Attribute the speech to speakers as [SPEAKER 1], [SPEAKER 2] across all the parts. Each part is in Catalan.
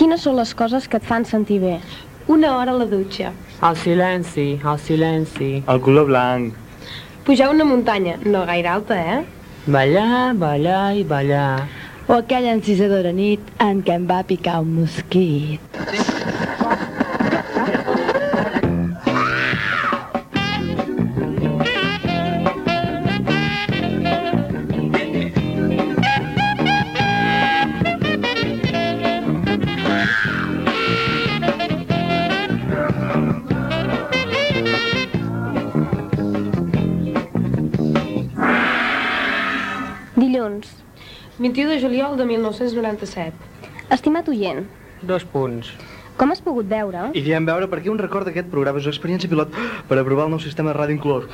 [SPEAKER 1] Quines són les coses que et fan sentir bé?
[SPEAKER 2] Una hora a la dutxa.
[SPEAKER 3] El silenci, el silenci.
[SPEAKER 4] El color blanc.
[SPEAKER 2] Pujar una muntanya, no gaire alta, eh?
[SPEAKER 3] Ballar, ballar i ballar.
[SPEAKER 5] O aquella encisadora nit en què em va picar un mosquit.
[SPEAKER 1] Dilluns.
[SPEAKER 2] 21 de juliol de 1997.
[SPEAKER 1] Estimat oient,
[SPEAKER 3] Dos punts.
[SPEAKER 1] com has pogut veure,
[SPEAKER 4] I diem veure per què un record d'aquest programa és una experiència pilot per aprovar el nou sistema de ràdio inclòs.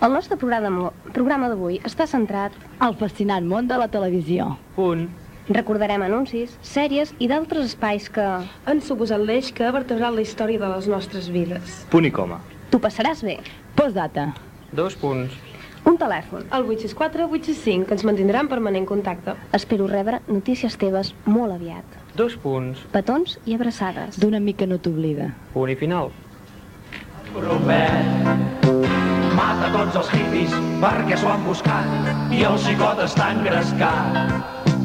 [SPEAKER 1] el nostre programa, programa d'avui està centrat,
[SPEAKER 5] El fascinant món de la televisió.
[SPEAKER 3] Punt.
[SPEAKER 1] recordarem anuncis, sèries i d'altres espais que
[SPEAKER 2] Han suposat l'eix que ha vertebrat la història de les nostres vides.
[SPEAKER 4] Punt i coma.
[SPEAKER 1] tu passaràs bé.
[SPEAKER 5] Postdata.
[SPEAKER 3] Dos punts.
[SPEAKER 1] Un telèfon.
[SPEAKER 2] El 864 865 ens mantindrà en permanent contacte.
[SPEAKER 1] Espero rebre notícies teves molt aviat.
[SPEAKER 3] Dos punts.
[SPEAKER 1] Petons i abraçades.
[SPEAKER 5] D'una mica no t'oblida.
[SPEAKER 3] Punt i final.
[SPEAKER 6] Robert mata tots els hippies perquè s'ho han buscat i el xicot està engrescat.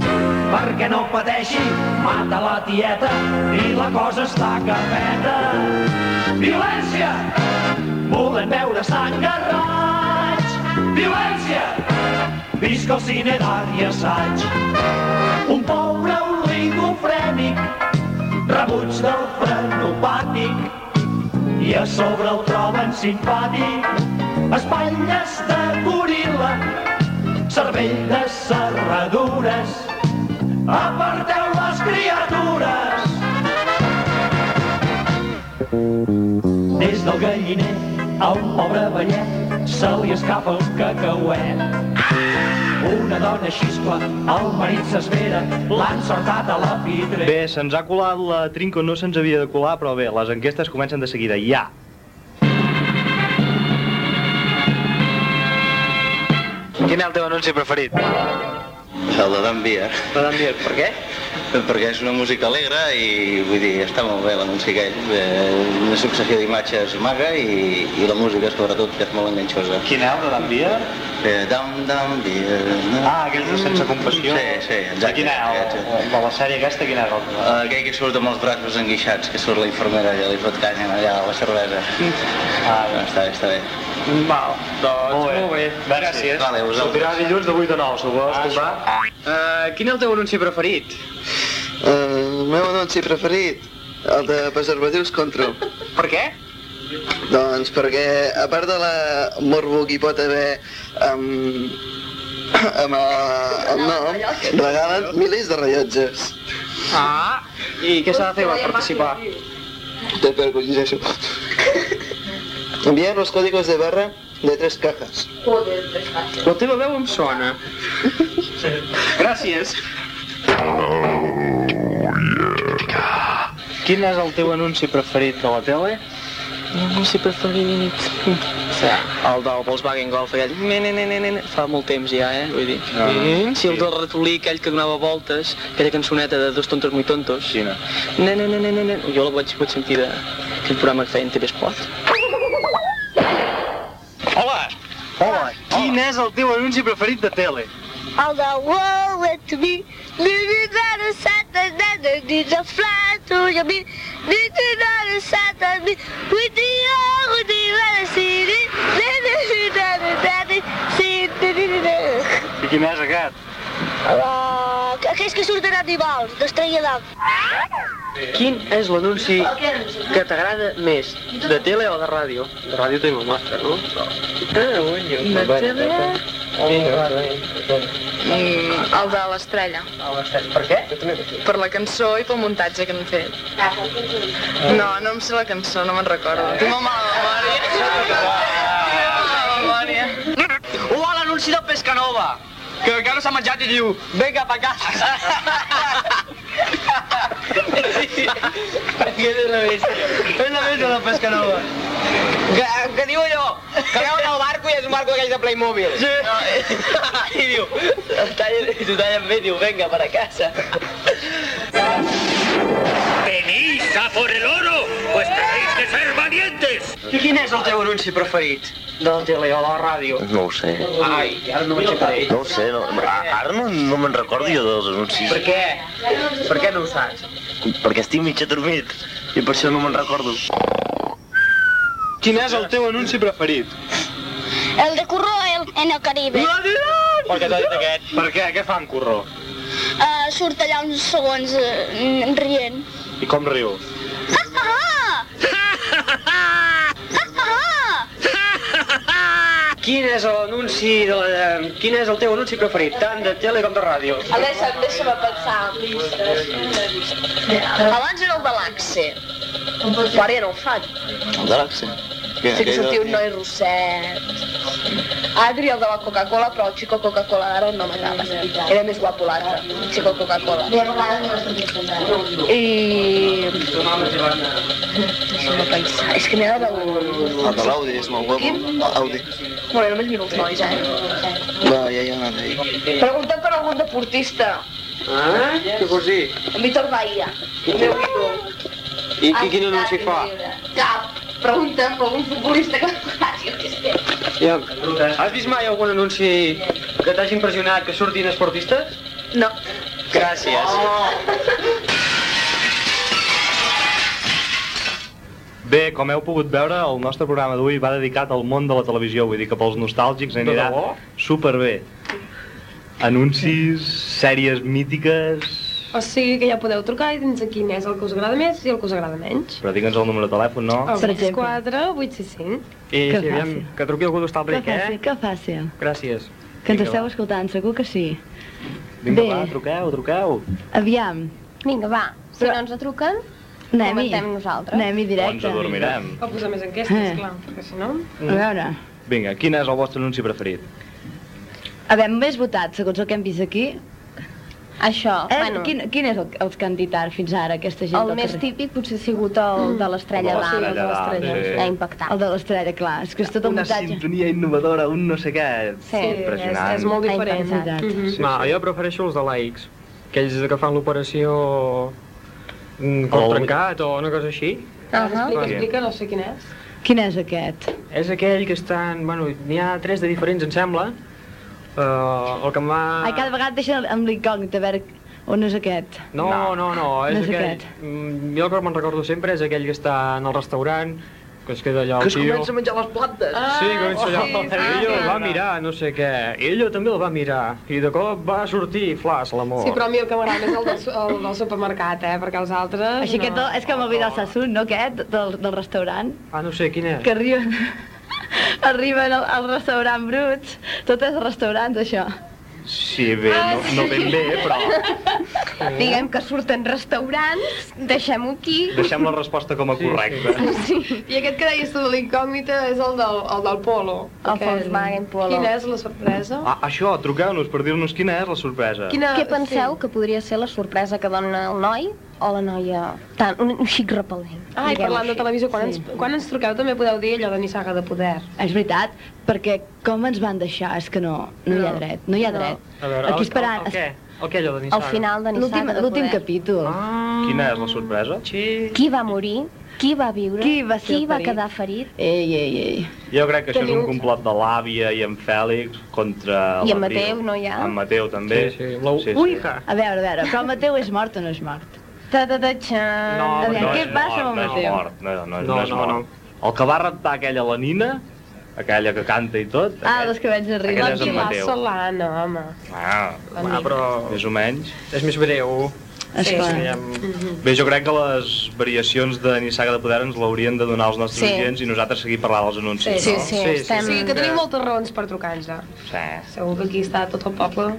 [SPEAKER 6] Perquè no pateixi, mata la tieta i la cosa està que peta. Violència! Volem veure sang a raig. Violència! Visca el cine d'art i assaig. Un pobre oligofrènic, rebuig del frenopàtic, i a sobre el troben simpàtic. Espatlles de goril·la, cervell de serradures, aparteu les criatures. Des del galliner a un pobre vellet se li escapa un cacauet. Una dona xiscla, el marit s'esvera, l'han sortat a la pitrera.
[SPEAKER 4] Bé, se'ns ha colat la trinca, no se'ns havia de colar, però bé, les enquestes comencen de seguida, ja.
[SPEAKER 7] Quin és el teu anunci preferit?
[SPEAKER 8] El de Dan Beer.
[SPEAKER 7] La d'enviar, per què?
[SPEAKER 8] Perquè és una música alegre i vull dir, està molt bé l'anunci aquell. Eh, Una successió d'imatges maca i, i la música sobretot que és molt enganxosa.
[SPEAKER 7] Quin és el de l'enviar?
[SPEAKER 8] Eh, Dan, Dan Beer. no?
[SPEAKER 7] Ah, aquell de sense compassió.
[SPEAKER 8] Sí, sí, exacte.
[SPEAKER 7] Quin és?
[SPEAKER 8] Exacte.
[SPEAKER 7] El, de la sèrie aquesta, quin és el?
[SPEAKER 8] Eh, Aquell que surt amb els braços enguixats, que surt la infermera i li fot canya allà a la cervesa.
[SPEAKER 7] Ah,
[SPEAKER 8] Ah, està bé, està bé.
[SPEAKER 7] Val, doncs,
[SPEAKER 4] Molt bé.
[SPEAKER 7] Gràcies.
[SPEAKER 8] Vale, us
[SPEAKER 4] Sortirà dilluns de 8 a 9, si ho vols escoltar.
[SPEAKER 3] Uh, Ah, quin és el teu anunci preferit?
[SPEAKER 9] Eh, El meu anunci preferit, el de preservatius control.
[SPEAKER 3] Per què?
[SPEAKER 9] Doncs perquè, a part de la morbo que hi pot haver amb, amb el, el nom, regalen milers de rellotges.
[SPEAKER 3] Ah, i què s'ha de fer per participar?
[SPEAKER 9] Te percudiseixo. Enviar los códigos de barra de tres cajas.
[SPEAKER 3] La teva veu em sona. Gràcies.
[SPEAKER 7] Quin és el teu anunci preferit de la tele?
[SPEAKER 3] El anunci preferit...
[SPEAKER 7] El del Volkswagen Golf aquell, ne, ne, ne, ne, ne, ne, fa molt temps ja, eh? Vull dir,
[SPEAKER 3] Mm,
[SPEAKER 7] si el
[SPEAKER 3] sí.
[SPEAKER 7] del ratolí aquell que donava voltes, aquella cançoneta de dos tontos muy tontos,
[SPEAKER 4] Quina?
[SPEAKER 7] ne, ne, ne, ne, ne, ne, jo la vaig, vaig sentir de aquell programa que feien TV Sport.
[SPEAKER 4] Hola! Hola! Quin és el teu anunci preferit de tele?
[SPEAKER 10] All the world with me. Did you not accept that that did the fly to your me? Did you not accept that me? With the old with the other city. Did you not accept that city?
[SPEAKER 4] I quin és aquest?
[SPEAKER 10] Ah, Aquells que surten animals, d'estrella d'am.
[SPEAKER 3] Quin és l'anunci que t'agrada més, de tele o de ràdio? De ràdio tenim el nostre, no? Ah, bueno. De tele?
[SPEAKER 10] El de l'estrella,
[SPEAKER 3] Per què?
[SPEAKER 10] per la cançó i pel muntatge que han fet. No, no em sé la cançó, no me'n recordo. Tinc molt mala memòria. Tinc molt mala memòria.
[SPEAKER 7] Oh, l'anunci del Pescanova! Que encara no s'ha menjat i diu, vinga pa casa! sí, és la bèstia. És la bèstia del Pescanova. Que, que diu allò, que veuen el barco i és un barco aquell de Playmobil. Sí. No, I diu, el tallen, i t'ho tallen bé, diu, vinga, per a casa.
[SPEAKER 11] por el oro, pues tenéis que ser valientes.
[SPEAKER 6] Quin és el teu anunci preferit? De la tele o de la ràdio?
[SPEAKER 12] No ho sé.
[SPEAKER 6] Ai, ara no m'aixecaré.
[SPEAKER 12] No ho sé, no, a- ara no, no me'n recordo jo dels anuncis.
[SPEAKER 6] Per què? Per què no ho saps?
[SPEAKER 12] Perquè estic mitja dormit i per això no me'n recordo.
[SPEAKER 6] Quin és el teu anunci preferit?
[SPEAKER 10] El de Curro el- en el Caribe.
[SPEAKER 6] Per què t'ha dit aquest? Per què? Què fa en Corró?
[SPEAKER 10] Uh, surt allà uns segons uh, rient.
[SPEAKER 4] I com riu?
[SPEAKER 6] Quin és l'anunci de la... Quin és el teu anunci preferit, tant de tele com de ràdio?
[SPEAKER 13] Deixa'm, deixa'm pensar. Abans era el de l'Axe, però ara ja no el fan.
[SPEAKER 14] El de l'Axe. Que-
[SPEAKER 13] Sí que
[SPEAKER 14] aquell
[SPEAKER 13] sortia
[SPEAKER 14] del-
[SPEAKER 13] un noi rosset. Adri, el de la Coca-Cola, però el Chico Coca-Cola d'ara no m'agrada. Era més guapo l'altre, el Chico Coca-Cola. I... Deixa'm pensar, és que n'hi ha de...
[SPEAKER 9] El de l'Audi és molt guapo. Ah, Audi.
[SPEAKER 13] Bueno, només miro els nois, eh?
[SPEAKER 9] No, ja hi ha una d'ell.
[SPEAKER 13] Preguntem per algun deportista.
[SPEAKER 6] Ah? Què vols dir?
[SPEAKER 13] Víctor Bahia.
[SPEAKER 6] I, i quin anunci fa?
[SPEAKER 13] Cap. Preguntem per algun futbolista que faci el que sé.
[SPEAKER 6] Ja. Has vist mai algun anunci que t'hagi impressionat que surtin esportistes?
[SPEAKER 13] No.
[SPEAKER 6] Gràcies.
[SPEAKER 4] Bé, com heu pogut veure, el nostre programa d'avui va dedicat al món de la televisió, vull dir que pels nostàlgics anirà
[SPEAKER 6] debò?
[SPEAKER 4] superbé. Anuncis, sèries mítiques...
[SPEAKER 1] O sigui que ja podeu trucar i dins quin és el que us agrada més i el que us agrada menys.
[SPEAKER 4] Però digue'ns el número de telèfon, no?
[SPEAKER 1] El 64 865.
[SPEAKER 15] Eh,
[SPEAKER 5] I Que si aviam,
[SPEAKER 4] que truqui algú
[SPEAKER 5] Que
[SPEAKER 4] eh?
[SPEAKER 5] fàcil, que fàcil.
[SPEAKER 4] Gràcies.
[SPEAKER 5] Que ens esteu escoltant, segur que sí.
[SPEAKER 4] Vinga,
[SPEAKER 5] Bé.
[SPEAKER 4] va, truqueu, truqueu.
[SPEAKER 5] Aviam,
[SPEAKER 16] Vinga, va, si no ens truquen,
[SPEAKER 5] anem-hi.
[SPEAKER 16] comentem nosaltres.
[SPEAKER 5] Anem-hi directe.
[SPEAKER 4] Ens Doncs adormirem.
[SPEAKER 1] Cal posar més enquestes,
[SPEAKER 5] Eh.
[SPEAKER 1] clar, perquè si no...
[SPEAKER 5] A veure,
[SPEAKER 4] Vinga, quin és el vostre anunci preferit?
[SPEAKER 5] havem més votat, segons el que hem vist aquí.
[SPEAKER 16] Això,
[SPEAKER 5] eh,
[SPEAKER 16] Oh, bueno.
[SPEAKER 5] Quin, quin és el, els que han dit ara, fins ara, aquesta gent
[SPEAKER 16] El
[SPEAKER 5] del
[SPEAKER 16] més
[SPEAKER 5] carrer?
[SPEAKER 16] típic potser ha sigut el de l'estrella
[SPEAKER 5] El de
[SPEAKER 16] d'Am.
[SPEAKER 5] l'Estrella d'Am, sí.
[SPEAKER 16] L'ha impactat.
[SPEAKER 5] El de l'estrella, clar, és que és tot el
[SPEAKER 16] Una
[SPEAKER 5] muntatge.
[SPEAKER 4] Sintonia innovadora, un no sé què.
[SPEAKER 16] Sí,
[SPEAKER 4] impressionant.
[SPEAKER 1] Mhm.
[SPEAKER 15] No, jo prefereixo els de laics, aquells que fan l'operació mm, cop
[SPEAKER 4] Oh.
[SPEAKER 15] trencat o una cosa així.
[SPEAKER 1] Ah, explica,
[SPEAKER 15] Sí.
[SPEAKER 1] explica, no sé quin és.
[SPEAKER 5] Quin és aquest?
[SPEAKER 15] És aquell que estan... Bueno, n'hi ha tres de diferents, em sembla. Uh, el que em va...
[SPEAKER 5] Ai, cada vegada et deixen amb l'incògnita, a veure on és aquest.
[SPEAKER 15] No, no, no, és,
[SPEAKER 5] No és
[SPEAKER 15] aquell.
[SPEAKER 5] aquest.
[SPEAKER 15] Mm, jo el que me'n recordo sempre és aquell que està en el restaurant, que es queda allà el
[SPEAKER 17] Que es
[SPEAKER 15] tio...
[SPEAKER 17] comença a menjar les plantes.
[SPEAKER 15] Sí, comença allà.
[SPEAKER 1] Ah,
[SPEAKER 15] ell el va mirar, no sé què. Ella també el va mirar. I de cop va sortir flaç, l'amor.
[SPEAKER 1] Sí, però a mi el que m'agrada més és el del, su- el del supermercat, eh? Perquè els altres...
[SPEAKER 5] Així aquest del- és que m'ha oblidat el Sassoon, no aquest, del, del restaurant?
[SPEAKER 15] Ah, no sé, quin és?
[SPEAKER 5] Que arriben, arriben al, al restaurant bruts, tot és restaurants, això.
[SPEAKER 4] Sí, bé, no, no ben bé, però
[SPEAKER 16] Ah, Diguem que surten restaurants, deixem-ho aquí.
[SPEAKER 4] deixem la resposta com a correcta.
[SPEAKER 1] I aquest que deies tu de l'incògnita és el del, el del Polo.
[SPEAKER 16] El
[SPEAKER 1] Aquest.
[SPEAKER 16] Volkswagen Polo.
[SPEAKER 1] Quina és la sorpresa?
[SPEAKER 4] Ah, això, truqueu-nos per dir-nos quina és la sorpresa.
[SPEAKER 16] Quina... Què penseu sí. que podria ser la sorpresa que dona el noi o la noia? Tant, un, un xic repel·lent.
[SPEAKER 1] Ah, i
[SPEAKER 16] diguem-ho
[SPEAKER 1] parlant de
[SPEAKER 16] així.
[SPEAKER 1] televisió, quan, sí. ens, quan ens truqueu també podeu dir allò de Nissaga de Poder.
[SPEAKER 5] És veritat, perquè com ens van deixar? És que no, no, hi ha
[SPEAKER 1] No,
[SPEAKER 5] dret, no hi ha
[SPEAKER 1] no.
[SPEAKER 5] dret.
[SPEAKER 15] A veure,
[SPEAKER 5] Aquí
[SPEAKER 15] el-
[SPEAKER 5] esperant...
[SPEAKER 15] El, el, què? El què, allò de
[SPEAKER 5] al
[SPEAKER 15] Nissaga?
[SPEAKER 5] l'últim l'últim capítol. Ah.
[SPEAKER 4] Quina és la sorpresa?
[SPEAKER 15] Sí.
[SPEAKER 16] Qui va morir? Qui va viure?
[SPEAKER 5] Qui va ser
[SPEAKER 16] Qui va
[SPEAKER 5] ferit?
[SPEAKER 16] quedar ferit?
[SPEAKER 5] Ei, ei, ei.
[SPEAKER 4] Jo crec que això és
[SPEAKER 16] Teniu-
[SPEAKER 4] un complot de l'àvia i en Fèlix contra
[SPEAKER 16] I en
[SPEAKER 4] l'Abril.
[SPEAKER 16] Mateu, no hi ha?
[SPEAKER 4] En Mateu també.
[SPEAKER 15] Sí, sí.
[SPEAKER 4] sí,
[SPEAKER 5] A veure, a veure, però el Mateu és mort o no és mort?
[SPEAKER 16] Ta -ta -ta -ta
[SPEAKER 4] No,
[SPEAKER 5] a veure,
[SPEAKER 4] no
[SPEAKER 5] què
[SPEAKER 4] és
[SPEAKER 5] passa
[SPEAKER 4] mort,
[SPEAKER 5] amb
[SPEAKER 4] no
[SPEAKER 5] el
[SPEAKER 4] és
[SPEAKER 5] Mateu?
[SPEAKER 4] mort, no, no,
[SPEAKER 15] No,
[SPEAKER 4] no, és
[SPEAKER 15] no,
[SPEAKER 4] mort. El que va raptar aquella la Nina, aquella que canta i tot,
[SPEAKER 5] Ah, doncs. dels cabells de riu.
[SPEAKER 4] Aquell és en Mateu.
[SPEAKER 1] Passa l'Anna, home.
[SPEAKER 4] Ah,
[SPEAKER 1] Ah,
[SPEAKER 15] però...
[SPEAKER 4] Més o menys.
[SPEAKER 15] És més breu.
[SPEAKER 5] Esclar.
[SPEAKER 4] Bé, jo crec que les variacions de Nissaga de Poder ens l'haurien de donar als nostres
[SPEAKER 1] Sí.
[SPEAKER 4] oients i nosaltres seguir parlant dels anuncis,
[SPEAKER 1] sí,
[SPEAKER 4] no?
[SPEAKER 1] sí, estem... sí, que teniu moltes raons per trucar-nos. eh?
[SPEAKER 4] Sí.
[SPEAKER 1] Segur que aquí està tot el poble.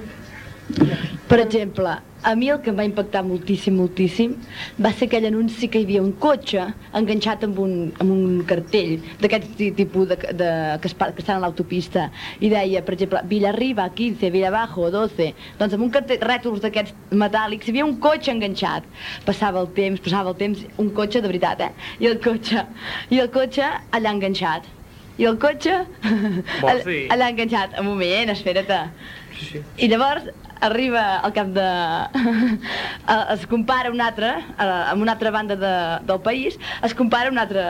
[SPEAKER 5] Per exemple, a mi el que em va impactar moltíssim, moltíssim, va ser aquell anunci que hi havia un cotxe enganxat amb un, amb un cartell d'aquest ti- tipus de, de, que, es, pa- que estan a l'autopista i deia, per exemple, Villarriba 15, Villabajo 12, doncs amb un cartell, rètols d'aquests metàl·lics, hi havia un cotxe enganxat. Passava el temps, passava el temps, un cotxe de veritat, eh? I el cotxe, i el cotxe allà enganxat. I el cotxe
[SPEAKER 15] Vols dir?
[SPEAKER 5] allà enganxat. Un moment, espera't. I llavors arriba al cap de... eh, es compara un altre, eh, amb una altra banda de, del país, es compara un altre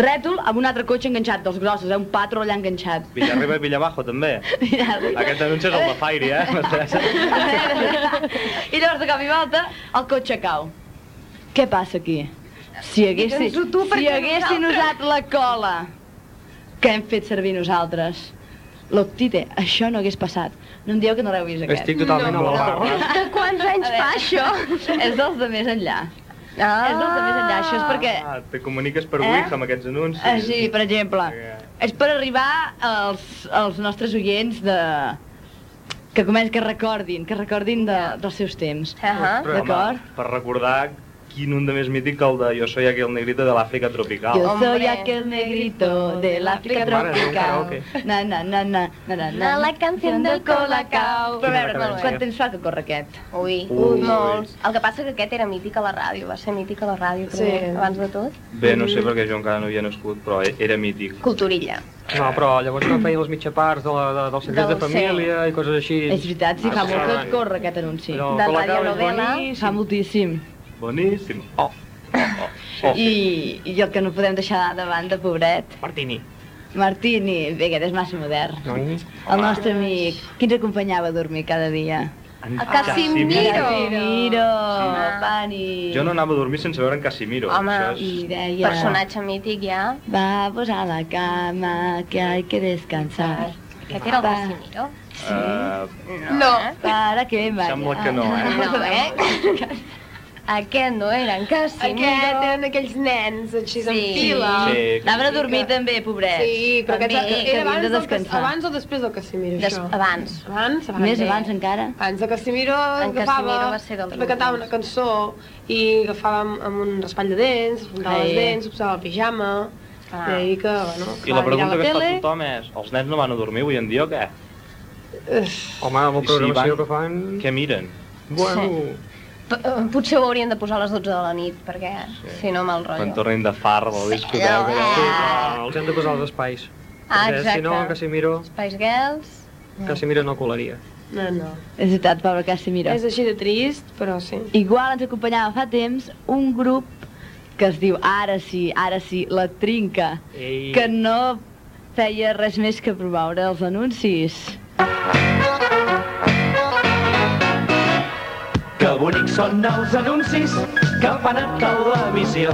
[SPEAKER 5] rètol amb un altre cotxe enganxat, dels grossos, eh, un patro allà enganxat.
[SPEAKER 4] Villarriba i Villabajo, també. Aquest anunci és el de Fairy, eh? M'interessa.
[SPEAKER 5] I llavors, de cop i volta, el cotxe cau. Què passa aquí? Si haguessin,
[SPEAKER 2] Digues-ho Doncs tu,
[SPEAKER 5] si
[SPEAKER 2] perquè
[SPEAKER 5] haguessin
[SPEAKER 2] nosaltres-
[SPEAKER 5] usat la cola que hem fet servir nosaltres, l'Octite, això no hagués passat. No em dieu que no l'heu vist, aquest.
[SPEAKER 15] Estic totalment
[SPEAKER 5] no,
[SPEAKER 15] a la
[SPEAKER 5] no.
[SPEAKER 15] barra.
[SPEAKER 1] De quants anys fa això?
[SPEAKER 5] És dels de més enllà. Ah. És dels de més enllà, això és perquè...
[SPEAKER 4] Ah, te comuniques per
[SPEAKER 5] Eh?
[SPEAKER 4] Wix amb aquests anuncis.
[SPEAKER 5] Ah, sí, per exemple, és per arribar als, als nostres oients de... Que començ, que recordin, que recordin de, dels seus temps. Uh -huh.
[SPEAKER 4] Però, home,
[SPEAKER 5] D'acord?
[SPEAKER 4] Per recordar quin un de més mític que el de Jo soy aquel negrito de l'Àfrica tropical.
[SPEAKER 5] Yo soy aquel negrito de la África
[SPEAKER 4] Mare, un
[SPEAKER 5] tropical.
[SPEAKER 4] karaoke.
[SPEAKER 5] Na, na, na, na, na, na, na.
[SPEAKER 1] Na, la canción del Colacao.
[SPEAKER 5] Però a veure, molt
[SPEAKER 1] Quina
[SPEAKER 5] bé.
[SPEAKER 1] cadència.
[SPEAKER 5] quant temps fa que corre aquest?
[SPEAKER 1] Ui,
[SPEAKER 4] Ui.
[SPEAKER 1] molts. El que passa que aquest era mític a la ràdio, va ser mític a la ràdio,
[SPEAKER 5] Sí.
[SPEAKER 1] primer, abans de tot.
[SPEAKER 4] Bé, no sé perquè jo encara no havia nascut, però e- era mític.
[SPEAKER 1] Culturilla.
[SPEAKER 15] No, però llavors no feien els mitja parts de la, de, dels secrets de
[SPEAKER 1] Del
[SPEAKER 15] família i coses així.
[SPEAKER 5] És veritat, sí, fa
[SPEAKER 15] Ah,
[SPEAKER 5] molt que
[SPEAKER 15] sí.
[SPEAKER 5] corre aquest anunci.
[SPEAKER 15] Però De la Colacao és radionovela.
[SPEAKER 5] Fa moltíssim.
[SPEAKER 4] Boníssim. Oh.
[SPEAKER 5] I, I el que no podem deixar de banda, pobret.
[SPEAKER 15] Martini.
[SPEAKER 5] Martini, bé, aquest és massa modern.
[SPEAKER 15] Noi.
[SPEAKER 5] El nostre amic, qui ens acompanyava a dormir cada dia?
[SPEAKER 4] En Ah, Casimiro.
[SPEAKER 5] Casimiro, Pani.
[SPEAKER 4] Jo no anava a dormir sense veure en Casimiro.
[SPEAKER 5] Home,
[SPEAKER 4] això és...
[SPEAKER 5] i deia...
[SPEAKER 1] Personatge mític ja.
[SPEAKER 5] Vamos a la cama, que hay que descansar.
[SPEAKER 1] Aquest era el
[SPEAKER 5] Va.
[SPEAKER 1] Casimiro.
[SPEAKER 4] Eh,
[SPEAKER 1] No.
[SPEAKER 5] Para que vaya.
[SPEAKER 4] Sembla que no, eh?
[SPEAKER 1] No, eh? Aquest no era en Casimiro.
[SPEAKER 2] Aquest eren aquells nens, així, sí. en fila.
[SPEAKER 4] Sí.
[SPEAKER 5] Anaven a dormir també, pobret.
[SPEAKER 2] Sí, però
[SPEAKER 5] També,
[SPEAKER 2] aquest
[SPEAKER 5] que
[SPEAKER 2] era
[SPEAKER 5] havien
[SPEAKER 2] abans,
[SPEAKER 5] de
[SPEAKER 2] de del,
[SPEAKER 5] descansar.
[SPEAKER 2] abans o després del Casimiro,
[SPEAKER 1] Des-
[SPEAKER 2] això?
[SPEAKER 1] abans.
[SPEAKER 2] Abans, abans.
[SPEAKER 5] Més abans encara.
[SPEAKER 2] Abans de Casimiro
[SPEAKER 1] En
[SPEAKER 2] agafava,
[SPEAKER 1] Casimiro va ser del
[SPEAKER 2] també cantava una cançó i agafava amb, amb un raspall de dents, apuntava
[SPEAKER 4] Ei.
[SPEAKER 2] les dents, posava el pijama,
[SPEAKER 1] Ah.
[SPEAKER 2] i ahí que, bueno,
[SPEAKER 4] I
[SPEAKER 2] acabava de
[SPEAKER 4] la
[SPEAKER 2] mirar
[SPEAKER 4] pregunta que es fa
[SPEAKER 2] tele.
[SPEAKER 4] tothom és, els nens no van a dormir avui en dia o què?
[SPEAKER 15] Home, amb la
[SPEAKER 4] I si van-
[SPEAKER 15] programació que fan...
[SPEAKER 4] Què miren?
[SPEAKER 15] Bueno,
[SPEAKER 1] P- eh, Potser ho haurien de posar a les 12 de la nit, perquè si no mal rotllo.
[SPEAKER 4] Quan tornin de farra, de la discoteca...
[SPEAKER 15] Sí, no, els hem de posar als espais.
[SPEAKER 1] Ah,
[SPEAKER 15] Perquè,
[SPEAKER 1] exacte.
[SPEAKER 15] Si no, en Casimiro,
[SPEAKER 1] Spice Girls...
[SPEAKER 15] Casimiro no colaria.
[SPEAKER 2] No, no.
[SPEAKER 5] És veritat, pobre Casimiro.
[SPEAKER 2] És així de trist, però sí.
[SPEAKER 5] Igual ens acompanyava fa temps un grup que es diu Ara sí, ara sí, la trinca,
[SPEAKER 15] Ei.
[SPEAKER 5] que no feia res més que promoure els anuncis.
[SPEAKER 6] Que bonics són els anuncis que fan a televisió.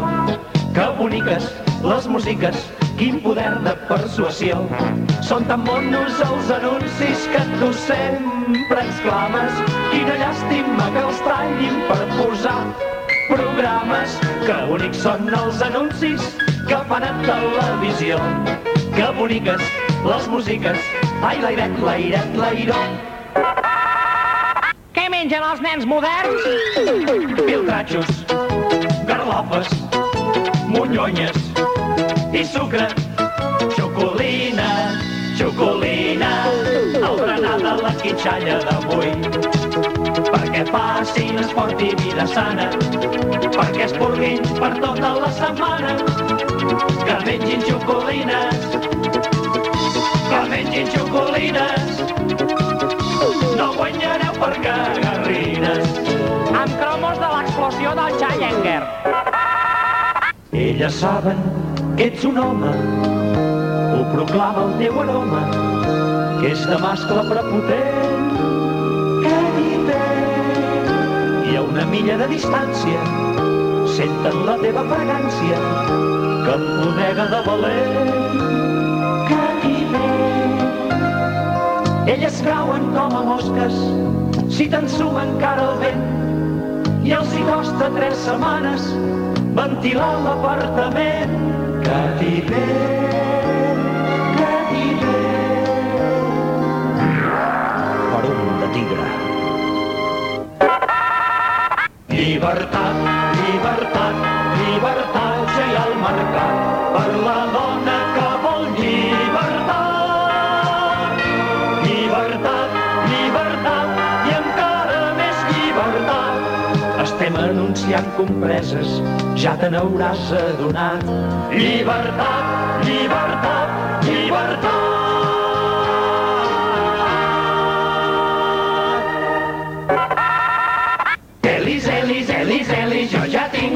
[SPEAKER 6] Que boniques les músiques, quin poder de persuasió. Són tan bonos els anuncis que tu sempre exclames. Quina llàstima que els tallin per posar programes. Que bonics són els anuncis que fan a televisió. Que boniques les músiques, ai l'airet, l'airet, l'airet.
[SPEAKER 14] Què mengen els nens moderns?
[SPEAKER 6] Piltratxos, garlofes, monyonyes i sucre. Xocolina, xocolina, el berenar de la quitxalla d'avui. Perquè facin esport i vida sana, perquè es purguin per tota la setmana. Que mengin xocolines, que mengin xocolines, no guanyareu per cagarrines.
[SPEAKER 14] Amb cromos de l'explosió del Challenger.
[SPEAKER 6] Elles saben que ets un home, ho proclama el teu aroma, que és de mascle prepotent, que hi té. I a una milla de distància senten la teva fragància, que em bodega de valent, que hi ve. Elles cauen com a mosques, si t'ensuen cara al vent, i els hi costa tres setmanes ventilar l'apartament. Que t'hi ve, que t'hi ve. Per un de tigre. Llibertat, llibertat, llibertat, ja hi ha al mercat per la dona que vol llibertat. Llibertat, llibertat i encara més llibertat. Estem anunciant compreses, ja te n'hauràs adonat. Llibertat, llibertat, llibertat!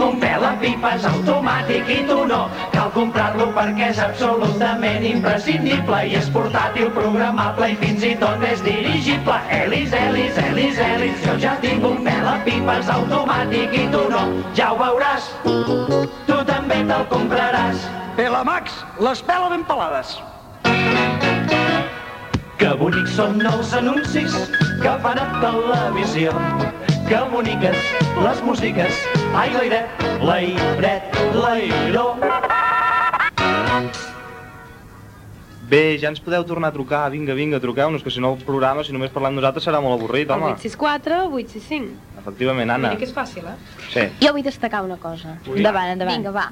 [SPEAKER 6] un pela pipa és automàtic i tu no. Cal comprar-lo perquè és absolutament imprescindible i és portàtil, programable i fins i tot és dirigible. Elis, Elis, Elis, Elis, jo ja tinc un pela pipa és automàtic i tu no. Ja ho veuràs, tu també te'l compraràs. Pela Max, les pela ben pelades. Que bonics són els anuncis que fan a televisió. Que boniques les músiques. Ai, l'airet, l'airet, l'airó.
[SPEAKER 4] Bé, ja ens podeu tornar a trucar, vinga, vinga, truqueu-nos, que si no el programa, si només parlem nosaltres, serà molt avorrit,
[SPEAKER 2] El
[SPEAKER 4] home.
[SPEAKER 2] 864, 865.
[SPEAKER 4] Efectivament, Anna.
[SPEAKER 2] Mira que és fàcil, eh?
[SPEAKER 4] Sí.
[SPEAKER 1] Jo vull destacar una cosa.
[SPEAKER 4] Ui. Endavant, endavant.
[SPEAKER 1] Vinga, va.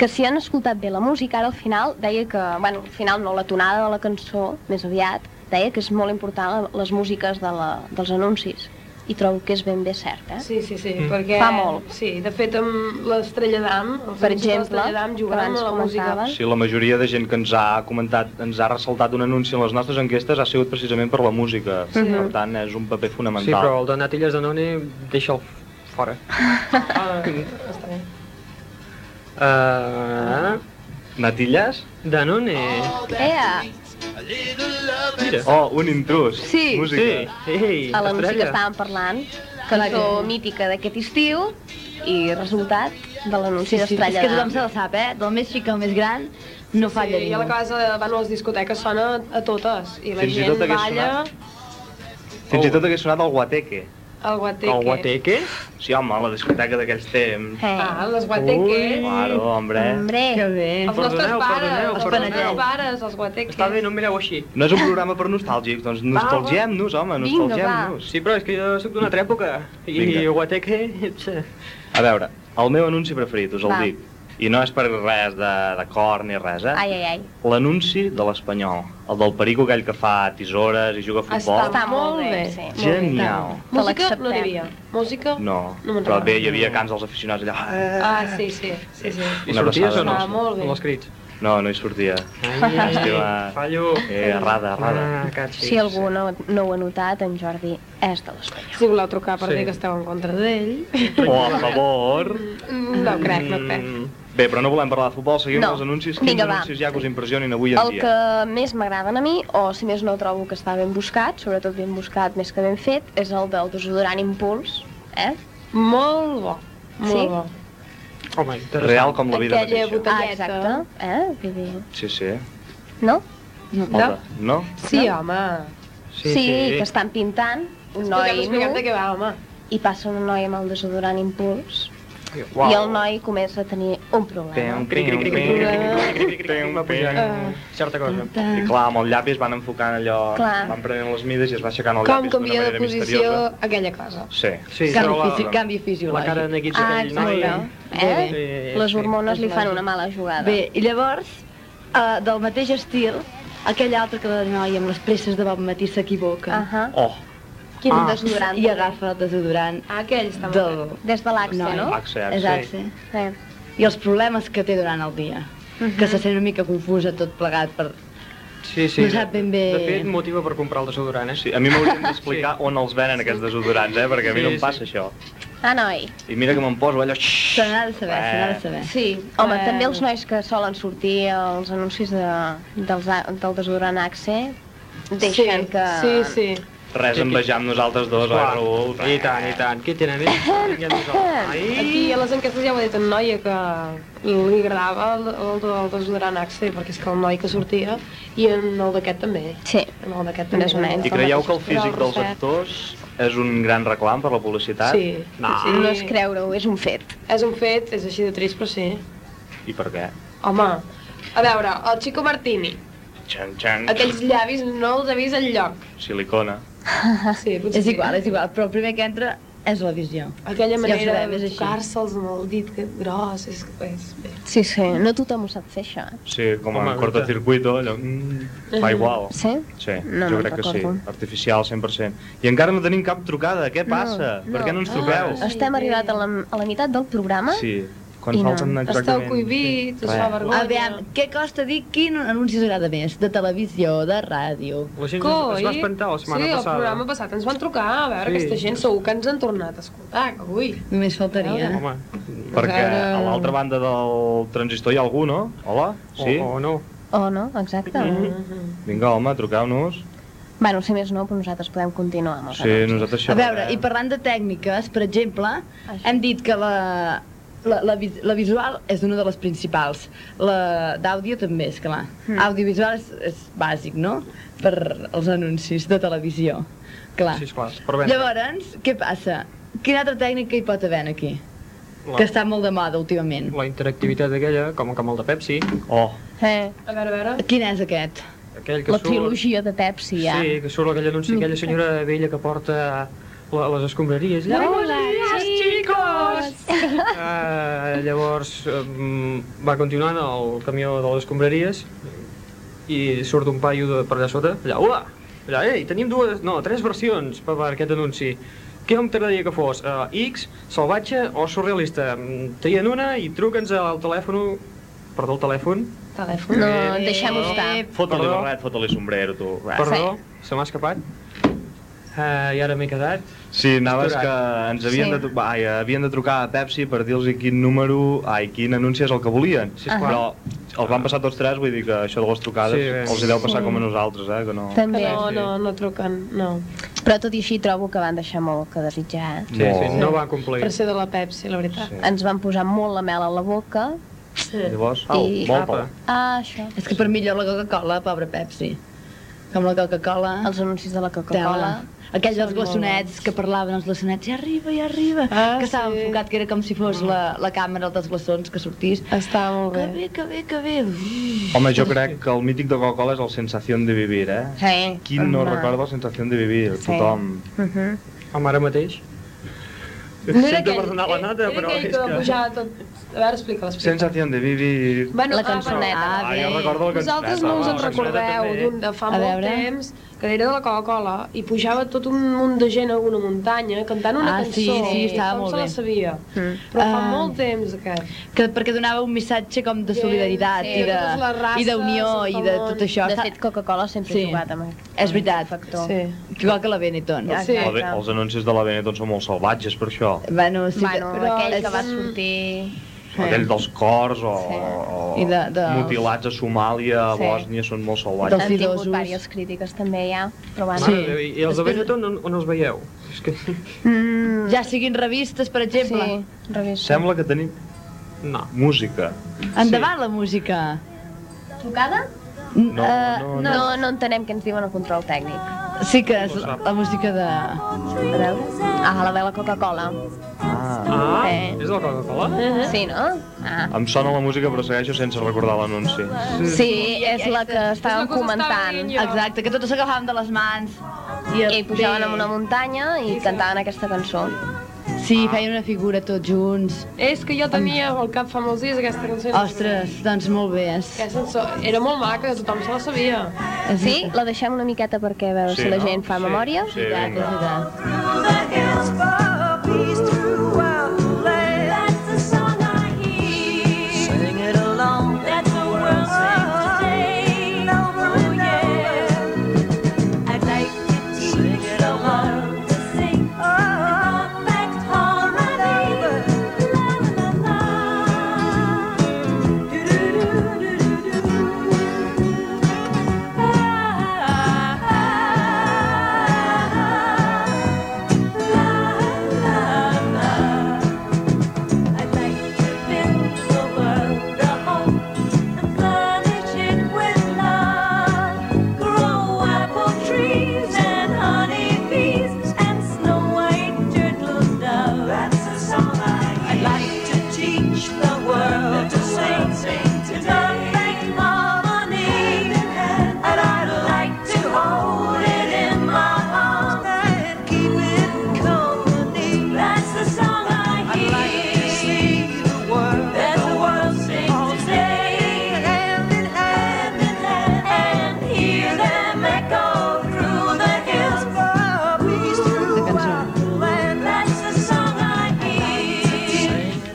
[SPEAKER 1] Que si han escoltat bé la música, ara al final deia que, bueno, al final no, la tonada de la cançó, més aviat, deia que és molt important les músiques de la, dels anuncis. I trobo que és ben bé cert, eh?
[SPEAKER 2] Sí, sí, sí, mm. perquè...
[SPEAKER 1] Fa molt.
[SPEAKER 2] Sí, de fet, amb l'Estrella d'Am, els
[SPEAKER 1] Per
[SPEAKER 2] anuncis de
[SPEAKER 1] exemple,
[SPEAKER 2] l'Estrella d'Am jugant
[SPEAKER 1] que abans
[SPEAKER 2] amb la música.
[SPEAKER 4] Sí, la majoria de gent que ens ha comentat, ens ha ressaltat un anunci en les nostres enquestes ha sigut precisament per la música.
[SPEAKER 15] Sí.
[SPEAKER 4] Per tant, és un paper
[SPEAKER 15] Sí,
[SPEAKER 4] fonamental.
[SPEAKER 15] però el de Natilles Danone deixa'l fora. Uh...
[SPEAKER 4] Natilles?
[SPEAKER 15] Danone.
[SPEAKER 1] Ea!
[SPEAKER 2] Eh,
[SPEAKER 15] Mira.
[SPEAKER 4] Oh, un intrus.
[SPEAKER 1] Sí.
[SPEAKER 4] Música.
[SPEAKER 15] Sí. Ei,
[SPEAKER 1] a l'anunci que
[SPEAKER 15] estrella.
[SPEAKER 1] estàvem parlant, cançó mítica d'aquest estiu i resultat de l'anunci
[SPEAKER 5] Sí, sí, és
[SPEAKER 1] d'Estrella
[SPEAKER 5] que tothom
[SPEAKER 1] d'Am.
[SPEAKER 5] se la sap, eh? Del més xic al més gran no falla
[SPEAKER 2] sí,
[SPEAKER 5] ningú.
[SPEAKER 2] I a la casa, bueno, a les discoteques sona a totes. I la
[SPEAKER 4] Fins i
[SPEAKER 2] gent
[SPEAKER 4] tot hagués
[SPEAKER 2] balla
[SPEAKER 4] Fins i tot hagués sonat el guateque.
[SPEAKER 2] al guateque.
[SPEAKER 4] Oh. guateque? Sí, home, la discoteca d'aquells temps.
[SPEAKER 1] Eh.
[SPEAKER 2] Ah, les guateques.
[SPEAKER 4] Claro, hombre.
[SPEAKER 1] Que
[SPEAKER 5] bé.
[SPEAKER 2] Els nostres
[SPEAKER 15] Perdoneu,
[SPEAKER 2] pares,
[SPEAKER 15] perdoneu,
[SPEAKER 2] els
[SPEAKER 15] perdoneu.
[SPEAKER 2] nostres pares, els guateques.
[SPEAKER 15] Està bé, no em mireu així.
[SPEAKER 4] No és un programa per nostàlgics, doncs nostalgiem-nos, home, nostalgiem-nos.
[SPEAKER 15] Sí, però és que jo sóc d'una altra època. I
[SPEAKER 4] Vinga.
[SPEAKER 15] Guateque...
[SPEAKER 4] A veure, el meu anunci preferit, us el
[SPEAKER 1] Va.
[SPEAKER 4] dic. I no és per res de, de cor ni res, eh?
[SPEAKER 1] Ai, ai, ai.
[SPEAKER 4] L'anunci de l'Espanyol, el del perico aquell que fa tisores i juga a futbol.
[SPEAKER 1] Està molt bé, sí.
[SPEAKER 4] Genial.
[SPEAKER 1] Te
[SPEAKER 2] Música no n'hi
[SPEAKER 1] l'acceptem.
[SPEAKER 2] havia. Música...
[SPEAKER 4] No,
[SPEAKER 2] No me'n
[SPEAKER 4] però bé,
[SPEAKER 2] recordo.
[SPEAKER 4] hi havia cants als aficionats allà.
[SPEAKER 1] Eh.
[SPEAKER 2] Ah, sí, sí. sí, sí.
[SPEAKER 4] I sorties o no?
[SPEAKER 2] Ah, molt bé.
[SPEAKER 15] Amb els crits.
[SPEAKER 4] No, no hi sortia.
[SPEAKER 15] Ai,
[SPEAKER 4] Estima...
[SPEAKER 15] Fallo. Ah,
[SPEAKER 4] Eh, errada, errada.
[SPEAKER 1] Si algú no, no ho ha notat, en Jordi és de l'Espanyol.
[SPEAKER 2] Si voleu trucar per
[SPEAKER 4] Sí.
[SPEAKER 2] dir que esteu en contra d'ell...
[SPEAKER 4] O a favor.
[SPEAKER 2] No crec, no crec.
[SPEAKER 4] Bé, però no volem parlar de futbol, seguim
[SPEAKER 1] No.
[SPEAKER 4] amb els anuncis. Quins
[SPEAKER 1] Vinga, va.
[SPEAKER 4] anuncis hi ha que us impressionin avui en
[SPEAKER 1] El
[SPEAKER 4] dia?
[SPEAKER 1] que més m'agraden a mi, o si més no trobo que està ben buscat, sobretot ben buscat més que ben fet, és el del desodorant Impuls, eh?
[SPEAKER 2] Molt bo, molt
[SPEAKER 1] sí?
[SPEAKER 2] bo.
[SPEAKER 15] Home,
[SPEAKER 4] Real com la vida
[SPEAKER 2] Aquella
[SPEAKER 4] mateixa.
[SPEAKER 2] botelleta.
[SPEAKER 1] Ah, exacte, eh? Vull dir,
[SPEAKER 4] Sí, sí.
[SPEAKER 1] No?
[SPEAKER 4] Hola, no?
[SPEAKER 2] Sí, home.
[SPEAKER 1] Sí, sí, que estan pintant, un
[SPEAKER 2] Expliquem,
[SPEAKER 1] noi
[SPEAKER 2] expliquem de què va, home.
[SPEAKER 1] i passa una noia amb el desodorant Impuls,
[SPEAKER 15] Uau.
[SPEAKER 1] i el noi comença a tenir un problema.
[SPEAKER 15] Cric, cric, cric, cric, cric, cric, cric, cric, va
[SPEAKER 2] Eh,
[SPEAKER 15] pujant
[SPEAKER 4] Mm.
[SPEAKER 15] certa cosa.
[SPEAKER 1] Ah.
[SPEAKER 4] I clar, amb el llapis van enfocant allò,
[SPEAKER 2] Clar.
[SPEAKER 4] van prenent les mides i es va aixecant el
[SPEAKER 2] Com
[SPEAKER 4] llapis d'una
[SPEAKER 2] canvia de
[SPEAKER 4] manera
[SPEAKER 2] posició
[SPEAKER 4] misteriosa.
[SPEAKER 2] aquella cosa.
[SPEAKER 4] Sí.
[SPEAKER 15] Sí,
[SPEAKER 5] canvi,
[SPEAKER 15] però la-
[SPEAKER 5] fisi, canvi fisiològic.
[SPEAKER 15] La cara de neguits
[SPEAKER 5] Ah,
[SPEAKER 15] aquell, no?
[SPEAKER 5] exacte.
[SPEAKER 15] I-
[SPEAKER 5] Eh?
[SPEAKER 15] Sí,
[SPEAKER 1] Les
[SPEAKER 15] sí.
[SPEAKER 1] hormones li fan una mala jugada.
[SPEAKER 5] Bé, i llavors, eh, del mateix estil, aquell altre que la noia amb les presses de bon matí s'equivoca. Uh
[SPEAKER 1] -huh.
[SPEAKER 4] Oh.
[SPEAKER 1] Quin Ah. desodorant.
[SPEAKER 5] I agafa el desodorant.
[SPEAKER 1] Ah, aquell està
[SPEAKER 5] del...
[SPEAKER 1] Des de l'Axe,
[SPEAKER 5] Noi.
[SPEAKER 1] no? Eh.
[SPEAKER 4] Axe, Axe.
[SPEAKER 5] És Axe.
[SPEAKER 1] Sí.
[SPEAKER 5] I els problemes que té durant el dia. Que se sent una mica confusa tot plegat per...
[SPEAKER 15] Sí, sí.
[SPEAKER 5] No sap ben bé...
[SPEAKER 15] De fet, motiva per comprar el desodorant, eh?
[SPEAKER 4] Sí, a mi m'haurien d'explicar sí. on els venen aquests desodorants, eh? Perquè a mi no em passa això.
[SPEAKER 1] Ah, noi.
[SPEAKER 4] I mira que me'n poso allò... Se
[SPEAKER 5] n'ha de saber, se
[SPEAKER 15] Eh.
[SPEAKER 5] n'ha de saber.
[SPEAKER 1] Sí, home,
[SPEAKER 2] Eh,
[SPEAKER 1] també els nois que solen sortir als anuncis de, dels, a- del desodorant Axe deixen
[SPEAKER 2] Sí,
[SPEAKER 1] que...
[SPEAKER 2] sí, sí.
[SPEAKER 4] Res envejar amb nosaltres dos, oi, Raül?
[SPEAKER 15] I tant, i tant. Què tenen ells? Vinga, nosaltres.
[SPEAKER 2] Aquí a les enquestes ja ho ha dit una noia que li agradava el, el, el desodorant Axe, perquè és que el noi que sortia, i en el d'aquest també.
[SPEAKER 1] Sí.
[SPEAKER 2] En el d'aquest també.
[SPEAKER 4] I creieu que el físic dels actors és un gran reclam per la publicitat?
[SPEAKER 2] Sí,
[SPEAKER 4] No.
[SPEAKER 2] sí.
[SPEAKER 1] No és creure-ho, és un fet.
[SPEAKER 2] És un fet, és així de trist, però sí.
[SPEAKER 4] I per què?
[SPEAKER 2] Home, a veure, el Chico Martini,
[SPEAKER 4] Xan, xan,
[SPEAKER 2] aquells llavis no els ha vist enlloc.
[SPEAKER 4] silicona.
[SPEAKER 2] Sí, potser
[SPEAKER 5] Ah, és igual, és igual, però el primer que entra és la visió.
[SPEAKER 2] Aquella manera
[SPEAKER 5] ja ho sabem,
[SPEAKER 2] de
[SPEAKER 5] és així.
[SPEAKER 2] tocar-se'ls amb el dit que gros, és, és bé.
[SPEAKER 1] Sí, sí, no tothom ho sap fer, això. eh?
[SPEAKER 4] Sí, com
[SPEAKER 15] Home,
[SPEAKER 4] en
[SPEAKER 15] no
[SPEAKER 4] cortocircuito, allò... Mm, fa igual.
[SPEAKER 1] Sí?
[SPEAKER 4] Sí,
[SPEAKER 1] No
[SPEAKER 4] jo
[SPEAKER 1] me'n
[SPEAKER 4] crec que sí.
[SPEAKER 1] recordo.
[SPEAKER 4] Artificial, 100%. I encara no tenim cap trucada, què passa? per què no ens truqueu?
[SPEAKER 1] Ah, estem arribat a la, a la meitat del programa.
[SPEAKER 4] Sí, Quan falten exactament...
[SPEAKER 2] cohibits,
[SPEAKER 4] us fa vergonya.
[SPEAKER 5] Aviam, què costa dir quin anunci us agrada més? De televisió, de ràdio...
[SPEAKER 15] La gent es va espantar la setmana
[SPEAKER 2] sí, Sí,
[SPEAKER 15] passada.
[SPEAKER 2] el programa passat ens van trucar, a veure,
[SPEAKER 15] Sí.
[SPEAKER 2] aquesta gent segur que ens han tornat a escoltar, que avui.
[SPEAKER 5] Només faltaria.
[SPEAKER 2] Home.
[SPEAKER 4] Perquè
[SPEAKER 2] Ara-
[SPEAKER 4] a l'altra banda del transistor hi ha algú, no? Hola? Sí?
[SPEAKER 6] Oh,
[SPEAKER 15] O, o no.
[SPEAKER 1] O no, exacte.
[SPEAKER 2] Mm.
[SPEAKER 4] Vinga, home, truqueu-nos.
[SPEAKER 1] Bueno, si més no, però nosaltres podem continuar amb els
[SPEAKER 4] Sí, nosaltres
[SPEAKER 5] A
[SPEAKER 4] xerrarem.
[SPEAKER 5] veure, i parlant de tècniques, per exemple, hem dit que la, la, la, vis- la visual és una de les principals, la d'àudio també, és clar.
[SPEAKER 18] Mm.
[SPEAKER 5] Audiovisual és, és bàsic, no?, per als anuncis de televisió, clar.
[SPEAKER 15] Sí, esclar, per vendre.
[SPEAKER 5] Llavors, què passa? Quina altra tècnica hi pot haver aquí?
[SPEAKER 15] La-
[SPEAKER 5] Que està molt de moda últimament.
[SPEAKER 15] La interactivitat aquella, com el camel de Pepsi.
[SPEAKER 4] Oh.
[SPEAKER 1] Eh.
[SPEAKER 2] A veure, a veure.
[SPEAKER 5] Quin és aquest?
[SPEAKER 15] Aquell que
[SPEAKER 1] La
[SPEAKER 15] surt...
[SPEAKER 1] trilogia de Pepsi, ja.
[SPEAKER 15] Sí, que surt aquell
[SPEAKER 2] Mm.
[SPEAKER 15] anunci, aquella senyora vella que porta la, les escombraries. Llavors,
[SPEAKER 1] Hola,
[SPEAKER 2] chicos!
[SPEAKER 15] eh, llavors eh, va continuant el camió de les escombraries i surt un paio de per allà sota, allà, hola! Allà, ei, tenim dues, no, tres versions per, per aquest anunci. Què em t'agradaria que fos? Uh, X, salvatge o surrealista? Mm, Trien una i truca'ns al telèfon... Perdó, el telèfon?
[SPEAKER 2] Telèfon.
[SPEAKER 1] No,
[SPEAKER 15] Eh,
[SPEAKER 1] deixem-ho estar.
[SPEAKER 4] Fota-li
[SPEAKER 15] Perdó.
[SPEAKER 4] barret, fota-li sombrero, tu.
[SPEAKER 15] Perdó, se m'ha escapat. Uh, I ara m'he quedat.
[SPEAKER 4] Sí, anaves que ens havien,
[SPEAKER 15] Sí.
[SPEAKER 4] de, trucar, ai, havien de trucar a Pepsi per dir-los quin número, ai, quin anunci és el que volien.
[SPEAKER 15] Sí, esclar.
[SPEAKER 4] Però els van passar tots tres, vull dir que això de les trucades
[SPEAKER 15] Sí, bé.
[SPEAKER 4] els hi deu passar
[SPEAKER 1] Sí.
[SPEAKER 4] com a nosaltres, eh, que no...
[SPEAKER 1] També.
[SPEAKER 2] No, no, no truquen, no.
[SPEAKER 1] Però tot i així trobo que van deixar molt que desitjar. eh?
[SPEAKER 15] Sí, sí,
[SPEAKER 4] Molt.
[SPEAKER 15] no va complir.
[SPEAKER 2] Per ser de la Pepsi, la veritat.
[SPEAKER 1] Ens van posar molt la mel a la boca.
[SPEAKER 4] Llavors,
[SPEAKER 1] I-
[SPEAKER 4] au, molt
[SPEAKER 1] Apa.
[SPEAKER 4] pel.
[SPEAKER 1] Ah, això.
[SPEAKER 5] És que per millor la Coca-Cola, pobra Pepsi. Com la Coca-Cola...
[SPEAKER 1] Els anuncis de la
[SPEAKER 5] Coca-Cola. Aquells dels glaçonets que parlaven, els glaçonets, ja arriba, ja arriba, ah, que estava sí. enfocat, que era com si fos la, la càmera dels glaçons que sortís.
[SPEAKER 2] Estava molt
[SPEAKER 5] bé. Que bé, que bé, que bé. Mm.
[SPEAKER 4] Home, jo crec que el mític de Coca-Cola és el Sensació de Vivir, eh?
[SPEAKER 1] Sí.
[SPEAKER 4] Qui no recorda el Sensació de Vivir?
[SPEAKER 1] Sí.
[SPEAKER 4] Tothom.
[SPEAKER 1] Mhm.
[SPEAKER 15] Home, ara mateix.
[SPEAKER 4] No era
[SPEAKER 15] Sento
[SPEAKER 4] aquell-
[SPEAKER 15] per donar la nota,
[SPEAKER 2] Era
[SPEAKER 15] però
[SPEAKER 2] aquell
[SPEAKER 15] és
[SPEAKER 2] que va
[SPEAKER 15] que...
[SPEAKER 2] pujar tot... A veure, explica, l'explica.
[SPEAKER 4] Sensació de Vivir...
[SPEAKER 2] Bueno, ah, bueno.
[SPEAKER 4] Ah, jo recordo la cançoneta.
[SPEAKER 2] Vosaltres no us en
[SPEAKER 4] home.
[SPEAKER 2] recordeu d'un de fa
[SPEAKER 5] A
[SPEAKER 2] molt
[SPEAKER 5] veure.
[SPEAKER 2] temps que era de la Coca-Cola i pujava tot un munt de gent a una muntanya cantant una
[SPEAKER 5] Ah,
[SPEAKER 2] cançó.
[SPEAKER 5] sí, sí, estava
[SPEAKER 2] com
[SPEAKER 5] molt
[SPEAKER 2] se la
[SPEAKER 5] bé.
[SPEAKER 2] sabia. Però fa
[SPEAKER 5] Ah.
[SPEAKER 2] molt temps, aquest.
[SPEAKER 5] Que, perquè donava un missatge com de solidaritat
[SPEAKER 1] sí,
[SPEAKER 5] i de,
[SPEAKER 1] totes les races,
[SPEAKER 5] i d'unió i de
[SPEAKER 1] tot el
[SPEAKER 5] tot
[SPEAKER 1] món.
[SPEAKER 5] això.
[SPEAKER 1] De fet, Coca-Cola sempre ha jugat amb aquest-
[SPEAKER 5] És veritat.
[SPEAKER 1] factor.
[SPEAKER 5] Sí. Igual que la Benetton.
[SPEAKER 4] La Be- Els anuncis de la Benetton són molt salvatges per això.
[SPEAKER 5] Bueno, sí,
[SPEAKER 1] Bueno,
[SPEAKER 5] que,
[SPEAKER 1] aquell que va
[SPEAKER 5] és-
[SPEAKER 1] sortir...
[SPEAKER 4] Aquell dels cors o, o
[SPEAKER 5] I de- de-
[SPEAKER 4] mutilats a Somàlia, a
[SPEAKER 1] Sí.
[SPEAKER 4] Bòsnia, són molt salvatges.
[SPEAKER 1] Han tingut diverses crítiques també ja, però bueno.
[SPEAKER 15] Sí. I, I els de Benetton on, on els veieu? És que...
[SPEAKER 1] Mm,
[SPEAKER 5] ja siguin revistes, per exemple.
[SPEAKER 1] Sí, revistes.
[SPEAKER 4] Sembla que tenim
[SPEAKER 15] no.
[SPEAKER 4] música.
[SPEAKER 5] Endavant la música.
[SPEAKER 1] Tocada?
[SPEAKER 5] No,
[SPEAKER 1] Eh,
[SPEAKER 5] no, no.
[SPEAKER 1] no, no entenem què ens diuen al control tècnic.
[SPEAKER 5] Sí que és la, la música de...
[SPEAKER 1] A veure. Ah, la ve la Coca-Cola.
[SPEAKER 4] Ah,
[SPEAKER 1] Eh.
[SPEAKER 15] és la Coca-Cola?
[SPEAKER 1] Sí, no? Ah.
[SPEAKER 4] Em sona la música però segueixo sense recordar l'anunci.
[SPEAKER 1] Sí, és la que estàvem comentant.
[SPEAKER 5] Exacte, que totes s'agafaven de les mans. I,
[SPEAKER 1] I pujaven en una muntanya i cantaven aquesta cançó.
[SPEAKER 5] Sí, feien una figura tots junts.
[SPEAKER 2] És que jo tenia al cap fa molts dies aquesta cançó.
[SPEAKER 5] Ostres, doncs molt bé. És.
[SPEAKER 2] Aquesta cançó era molt maca, tothom se la sabia.
[SPEAKER 1] Sí, la deixem una miqueta perquè a veure
[SPEAKER 2] Sí,
[SPEAKER 1] si la
[SPEAKER 2] no?
[SPEAKER 1] gent fa
[SPEAKER 2] Sí,
[SPEAKER 1] memòria.
[SPEAKER 2] sí, vinga.
[SPEAKER 1] és veritat.
[SPEAKER 13] Thank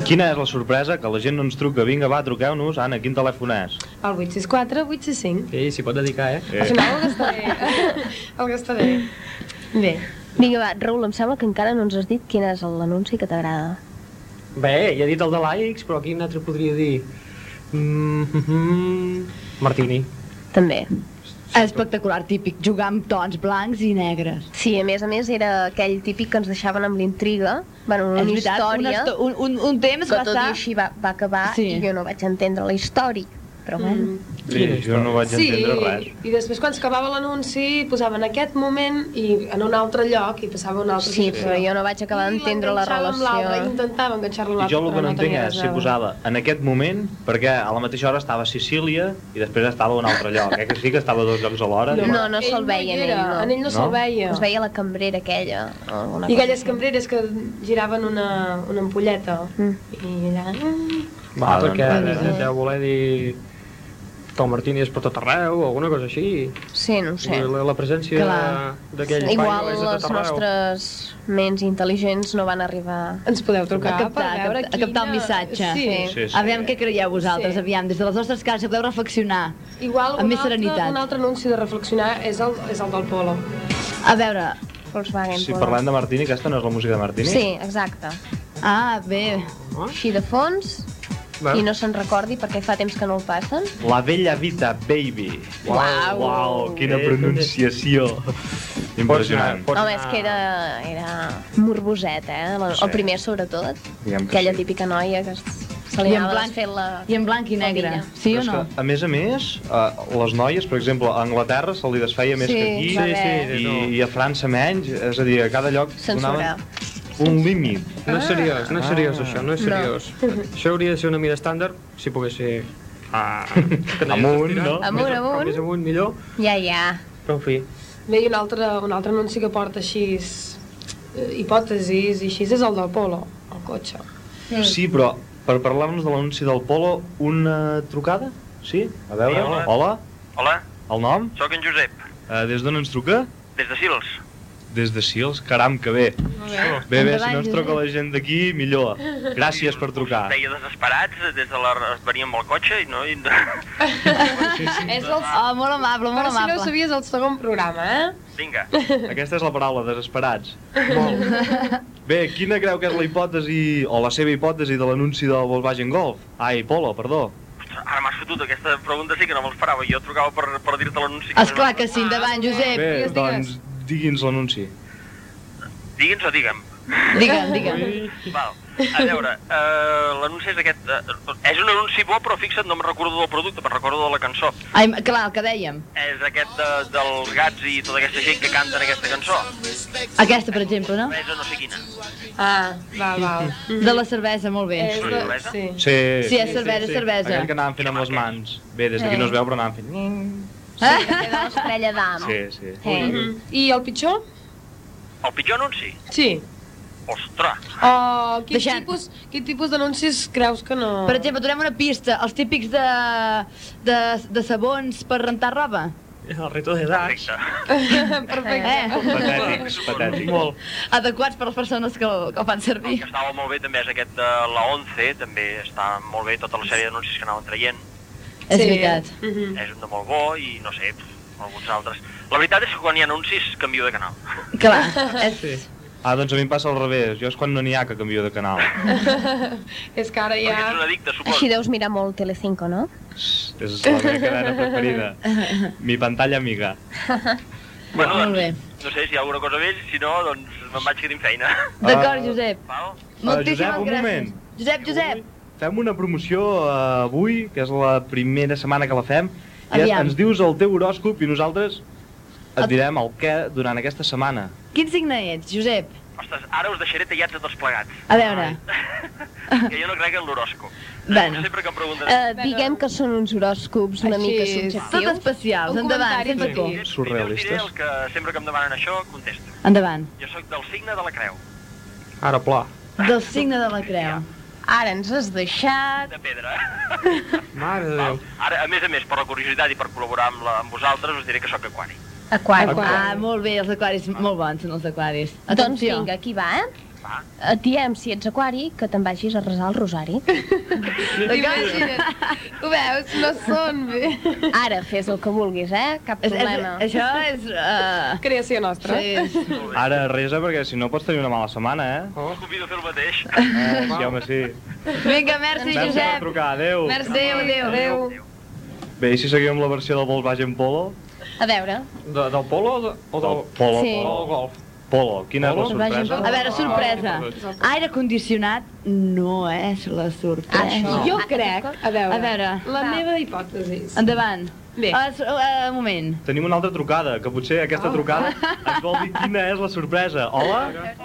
[SPEAKER 4] Quina és la sorpresa? Que la gent no ens truca. Vinga, va, truqueu-nos. Anna, quin telèfon és?
[SPEAKER 2] El 864, 865.
[SPEAKER 4] Sí, s'hi pot dedicar, eh?
[SPEAKER 2] Al final el gastaré. el gastaré.
[SPEAKER 1] Bé. Vinga, va, Raül, em sembla que encara no ens has dit quin és l'anunci que t'agrada.
[SPEAKER 15] Bé, ja he dit el de l'Aix, però quin altre podria dir? Mm, mm, mm, Martini.
[SPEAKER 1] També.
[SPEAKER 5] Espectacular, típic, jugar amb tons blancs i negres.
[SPEAKER 1] Sí, a més a més era aquell típic que ens deixaven amb l'intriga, bueno, una
[SPEAKER 5] És veritat, una
[SPEAKER 1] història...
[SPEAKER 5] esto- un- un- un temps
[SPEAKER 1] que
[SPEAKER 5] va
[SPEAKER 1] tot
[SPEAKER 5] estar-
[SPEAKER 1] i així va, va acabar
[SPEAKER 5] Sí. Mm.
[SPEAKER 1] i jo no vaig entendre la història, però bueno...
[SPEAKER 4] Sí, jo no vaig
[SPEAKER 2] Sí,
[SPEAKER 4] entendre res.
[SPEAKER 2] i després quan s'acabava l'anunci posaven aquest moment i en un altre lloc i passava un altre
[SPEAKER 1] Sí, però jo no vaig acabar d'entendre la relació.
[SPEAKER 2] Intentava enganxar-lo a
[SPEAKER 4] I
[SPEAKER 2] l'altre,
[SPEAKER 4] jo el que no entenc és si posava en aquest moment, perquè a la mateixa hora estava a Sicília i després estava a un altre lloc. Eh? Que sí que estava a dos llocs alhora.
[SPEAKER 1] No, no se'l veia en ell,
[SPEAKER 2] era,
[SPEAKER 1] no.
[SPEAKER 2] en ell no se'l No? veia.
[SPEAKER 1] Es veia la cambrera aquella. Una
[SPEAKER 2] I aquelles cambreres que giraven una, una ampolleta.
[SPEAKER 1] Mm.
[SPEAKER 2] I allà... mm,
[SPEAKER 15] Va,
[SPEAKER 4] Ah, doncs,
[SPEAKER 15] perquè
[SPEAKER 4] va, va, va.
[SPEAKER 15] deu voler dir que el Martini és per tot arreu, o alguna cosa així.
[SPEAKER 1] Sí, no ho sé.
[SPEAKER 15] La, la presència
[SPEAKER 1] Clar.
[SPEAKER 15] d'aquell sí.
[SPEAKER 1] Igual
[SPEAKER 15] és a
[SPEAKER 1] les
[SPEAKER 15] tot arreu.
[SPEAKER 1] nostres ments intel·ligents no van arribar...
[SPEAKER 2] Ens podeu
[SPEAKER 5] a captar, a captar, a captar el missatge. Aviam què creieu vosaltres, aviam, des de les vostres cases podeu reflexionar.
[SPEAKER 2] Igual
[SPEAKER 5] amb
[SPEAKER 2] un
[SPEAKER 5] més
[SPEAKER 2] altre,
[SPEAKER 5] serenitat.
[SPEAKER 2] un altre anunci de reflexionar és el, és el del Polo.
[SPEAKER 5] A veure...
[SPEAKER 1] Volkswagen
[SPEAKER 4] Si parlem de Martini, aquesta no és la música de Martini?
[SPEAKER 1] Sí, exacte.
[SPEAKER 5] Ah, bé.
[SPEAKER 1] Així de fons,
[SPEAKER 4] Va.
[SPEAKER 1] i no se'n recordi perquè fa temps que no el passen.
[SPEAKER 4] La Bella Vita, baby.
[SPEAKER 1] Uau.
[SPEAKER 4] Uau, quina pronunciació. Impressionant.
[SPEAKER 1] Home, és que era, era morboset, eh? El,
[SPEAKER 4] Sí.
[SPEAKER 1] el primer, sobretot.
[SPEAKER 4] Diguem que
[SPEAKER 1] Aquella típica noia que es- se li
[SPEAKER 5] I en
[SPEAKER 1] anava
[SPEAKER 5] blanc-
[SPEAKER 1] desfent la...
[SPEAKER 5] I en blanc i negre,
[SPEAKER 1] Faldilla.
[SPEAKER 5] sí
[SPEAKER 4] Però
[SPEAKER 5] o
[SPEAKER 4] és
[SPEAKER 5] no?
[SPEAKER 4] que, a més a més, eh, les noies, per exemple, a Anglaterra se li desfeia més
[SPEAKER 5] Sí,
[SPEAKER 4] que aquí,
[SPEAKER 5] va Sí, haver-
[SPEAKER 4] i, i a França menys, és a dir, a cada lloc
[SPEAKER 1] Censurar.
[SPEAKER 4] donaven un límit.
[SPEAKER 15] No és seriós, no és seriós això, no és
[SPEAKER 1] No.
[SPEAKER 15] seriós. Això hauria de ser una mida estàndard, si pogués ser... Ah,
[SPEAKER 4] amunt,
[SPEAKER 15] no?
[SPEAKER 1] Amunt,
[SPEAKER 15] Més-
[SPEAKER 1] amunt.
[SPEAKER 15] Més amunt, millor,
[SPEAKER 1] Ja, ja.
[SPEAKER 15] però en fi.
[SPEAKER 2] Bé, i un altre, un altre anunci que porta així eh, hipòtesis i així és el del Polo, el cotxe.
[SPEAKER 4] Sí, però per parlar-nos de l'anunci del Polo, una trucada? Sí? A veure,
[SPEAKER 12] Sí, hola.
[SPEAKER 4] hola.
[SPEAKER 12] Hola,
[SPEAKER 4] El nom?
[SPEAKER 12] sóc en Josep,
[SPEAKER 4] Eh, des d'on ens truca?
[SPEAKER 12] des de Sils.
[SPEAKER 4] Des de Sils, caram, que bé. Bé, bé, si no ens
[SPEAKER 12] Endavant,
[SPEAKER 4] truca la
[SPEAKER 12] Josep.
[SPEAKER 4] gent d'aquí, millor. Gràcies per trucar.
[SPEAKER 12] Deia desesperats, des de la... veníem amb el cotxe i no... I...
[SPEAKER 2] és el...
[SPEAKER 5] Oh, molt amable,
[SPEAKER 2] molt Però si
[SPEAKER 5] amable.
[SPEAKER 2] no ho sabies, el segon programa, eh?
[SPEAKER 12] Vinga.
[SPEAKER 4] Aquesta és la paraula, desesperats. Bé, quina creu que és la hipòtesi, o la seva hipòtesi de l'anunci del Volkswagen Golf? Ai, Polo, perdó.
[SPEAKER 12] Ara m'has fotut, aquesta pregunta sí que no me l'esperava. Jo trucava per, per dir-te l'anunci.
[SPEAKER 5] Esclar que sí, endavant, Josep.
[SPEAKER 4] Bé, doncs, digui'ns l'anunci.
[SPEAKER 12] Digui'ns o digue'm.
[SPEAKER 5] Digue'm, digue'm.
[SPEAKER 12] Val. A veure, uh, l'anunci és aquest... Uh, és un anunci bo, però fixa't, no me'n recordo del producte, me'n recordo de la cançó.
[SPEAKER 5] Ai, clar, el que dèiem.
[SPEAKER 12] És aquest de, dels gats i tota aquesta gent que canten aquesta cançó.
[SPEAKER 5] Aquesta, per exemple, no?
[SPEAKER 12] És o no sé quina.
[SPEAKER 2] Ah, va, va.
[SPEAKER 5] De la cervesa, molt bé.
[SPEAKER 2] Eh,
[SPEAKER 12] És de- sí.
[SPEAKER 4] Sí,
[SPEAKER 5] Sí, és cervesa, és cervesa. Eh.
[SPEAKER 4] Aquell que anàvem fent amb les mans. Bé, des
[SPEAKER 2] Sí.
[SPEAKER 4] d'aquí no es veu, però anàvem fent...
[SPEAKER 1] Sí, aquella estrella
[SPEAKER 5] Ah,
[SPEAKER 1] d'am.
[SPEAKER 4] Sí, sí.
[SPEAKER 1] Eh.
[SPEAKER 5] Eh.
[SPEAKER 2] Mhm. I el pitjor?
[SPEAKER 12] El pitjor anunci?
[SPEAKER 2] Sí.
[SPEAKER 12] Ostres!
[SPEAKER 2] Oh, quin tipus, quin tipus d'anuncis creus que no...
[SPEAKER 5] Per exemple, donem una pista, els típics de, de, de sabons per rentar roba.
[SPEAKER 15] El reto de
[SPEAKER 4] Ah.
[SPEAKER 15] Dax.
[SPEAKER 5] Perfecte. Eh?
[SPEAKER 12] Patètics, patètics.
[SPEAKER 15] Molt.
[SPEAKER 5] Adequats per les persones que, el- que el fan servir.
[SPEAKER 12] que estava molt bé també és aquest de la 11, també està molt bé tota la sèrie d'anuncis que anaven traient.
[SPEAKER 5] És veritat.
[SPEAKER 2] Mm. Mm-hmm.
[SPEAKER 12] És un de molt bo i no sé, pf, alguns altres. La veritat és que quan hi ha anuncis canvio de canal.
[SPEAKER 5] Clar, és...
[SPEAKER 4] Sí. Ah, doncs a mi em passa al revés. Jo és quan no n'hi ha que canvio de canal.
[SPEAKER 2] És que ara ja...
[SPEAKER 12] Perquè ets un addicte,
[SPEAKER 1] Així deus mirar molt Telecinco, no?
[SPEAKER 4] És la meva cadena preferida. Mi pantalla amiga.
[SPEAKER 12] Bueno,
[SPEAKER 5] Molt bé.
[SPEAKER 12] No sé si hi ha alguna cosa més, si no, doncs me'n vaig quedant feina.
[SPEAKER 5] Ah, D'acord, Josep.
[SPEAKER 4] ah, Josep,
[SPEAKER 5] Moltíssimes
[SPEAKER 4] un
[SPEAKER 5] gràcies.
[SPEAKER 4] moment.
[SPEAKER 5] Josep, Josep.
[SPEAKER 4] Fem una promoció eh, avui, que és la primera setmana que la fem, i és,
[SPEAKER 5] Aviam.
[SPEAKER 4] ens dius el teu horòscop i nosaltres et direm el què durant aquesta setmana.
[SPEAKER 5] Quin signe ets, Josep?
[SPEAKER 12] Ostres, ara us deixaré tallats a tots plegats.
[SPEAKER 5] A veure.
[SPEAKER 12] Que jo no crec en l'horòscop.
[SPEAKER 5] Bueno.
[SPEAKER 12] Sempre que em pregunten...
[SPEAKER 1] Eh, diguem que són uns horòscops una
[SPEAKER 5] Així
[SPEAKER 1] mica
[SPEAKER 5] és.
[SPEAKER 1] subjectius.
[SPEAKER 5] Tot especials, Un endavant, comentari sense petit. por.
[SPEAKER 12] Diré
[SPEAKER 4] Surrealistes.
[SPEAKER 12] el que sempre que em demanen això, contesto.
[SPEAKER 5] Endavant.
[SPEAKER 12] Jo sóc del signe de la creu.
[SPEAKER 15] Ara pla.
[SPEAKER 5] Del signe de la creu.
[SPEAKER 1] Ara ens has deixat...
[SPEAKER 12] De pedra.
[SPEAKER 15] Mare de
[SPEAKER 4] Ah.
[SPEAKER 15] Déu.
[SPEAKER 12] Ara, a més a més, per la curiositat i per col·laborar amb, la, amb vosaltres, us diré que sóc aquari.
[SPEAKER 1] Aquari.
[SPEAKER 5] Ah, molt bé, els aquaris, molt bons són els aquaris.
[SPEAKER 1] Doncs
[SPEAKER 5] Atenció.
[SPEAKER 1] vinga, aquí va, eh?
[SPEAKER 19] et diem, si ets aquari, que te'n vagis a resar el rosari.
[SPEAKER 14] Imagina't. Ho veus? No són bé.
[SPEAKER 19] Ara, fes el que vulguis, eh? Cap
[SPEAKER 5] És- és-
[SPEAKER 19] problema.
[SPEAKER 5] això és, eh,
[SPEAKER 1] Creació nostra.
[SPEAKER 5] Sí.
[SPEAKER 4] Ara resa perquè si no pots tenir una mala setmana, eh? Oh.
[SPEAKER 6] Convido a fer el mateix.
[SPEAKER 15] oh,
[SPEAKER 4] eh sí, home, sí.
[SPEAKER 14] Vinga, merci,
[SPEAKER 4] Merci per
[SPEAKER 14] Josep.
[SPEAKER 4] trucar, adeu.
[SPEAKER 14] Merci, adéu, adéu. adéu.
[SPEAKER 4] Bé, i si seguim amb la versió del Volkswagen Polo?
[SPEAKER 19] A veure.
[SPEAKER 15] De, del polo o, de, o del...
[SPEAKER 4] Polo,
[SPEAKER 5] Sí.
[SPEAKER 4] polo.
[SPEAKER 15] O golf.
[SPEAKER 4] Polo, quina és la sorpresa?
[SPEAKER 5] A veure, sorpresa. Aire condicionat no és la sorpresa.
[SPEAKER 1] Això. Jo crec, a
[SPEAKER 5] A
[SPEAKER 1] veure,
[SPEAKER 5] veure.
[SPEAKER 1] la meva hipòtesi.
[SPEAKER 5] Endavant.
[SPEAKER 1] Bé.
[SPEAKER 5] Ah, s- ah, un moment.
[SPEAKER 4] Tenim una altra trucada, que potser aquesta trucada ens vol dir quina és la sorpresa. Hola?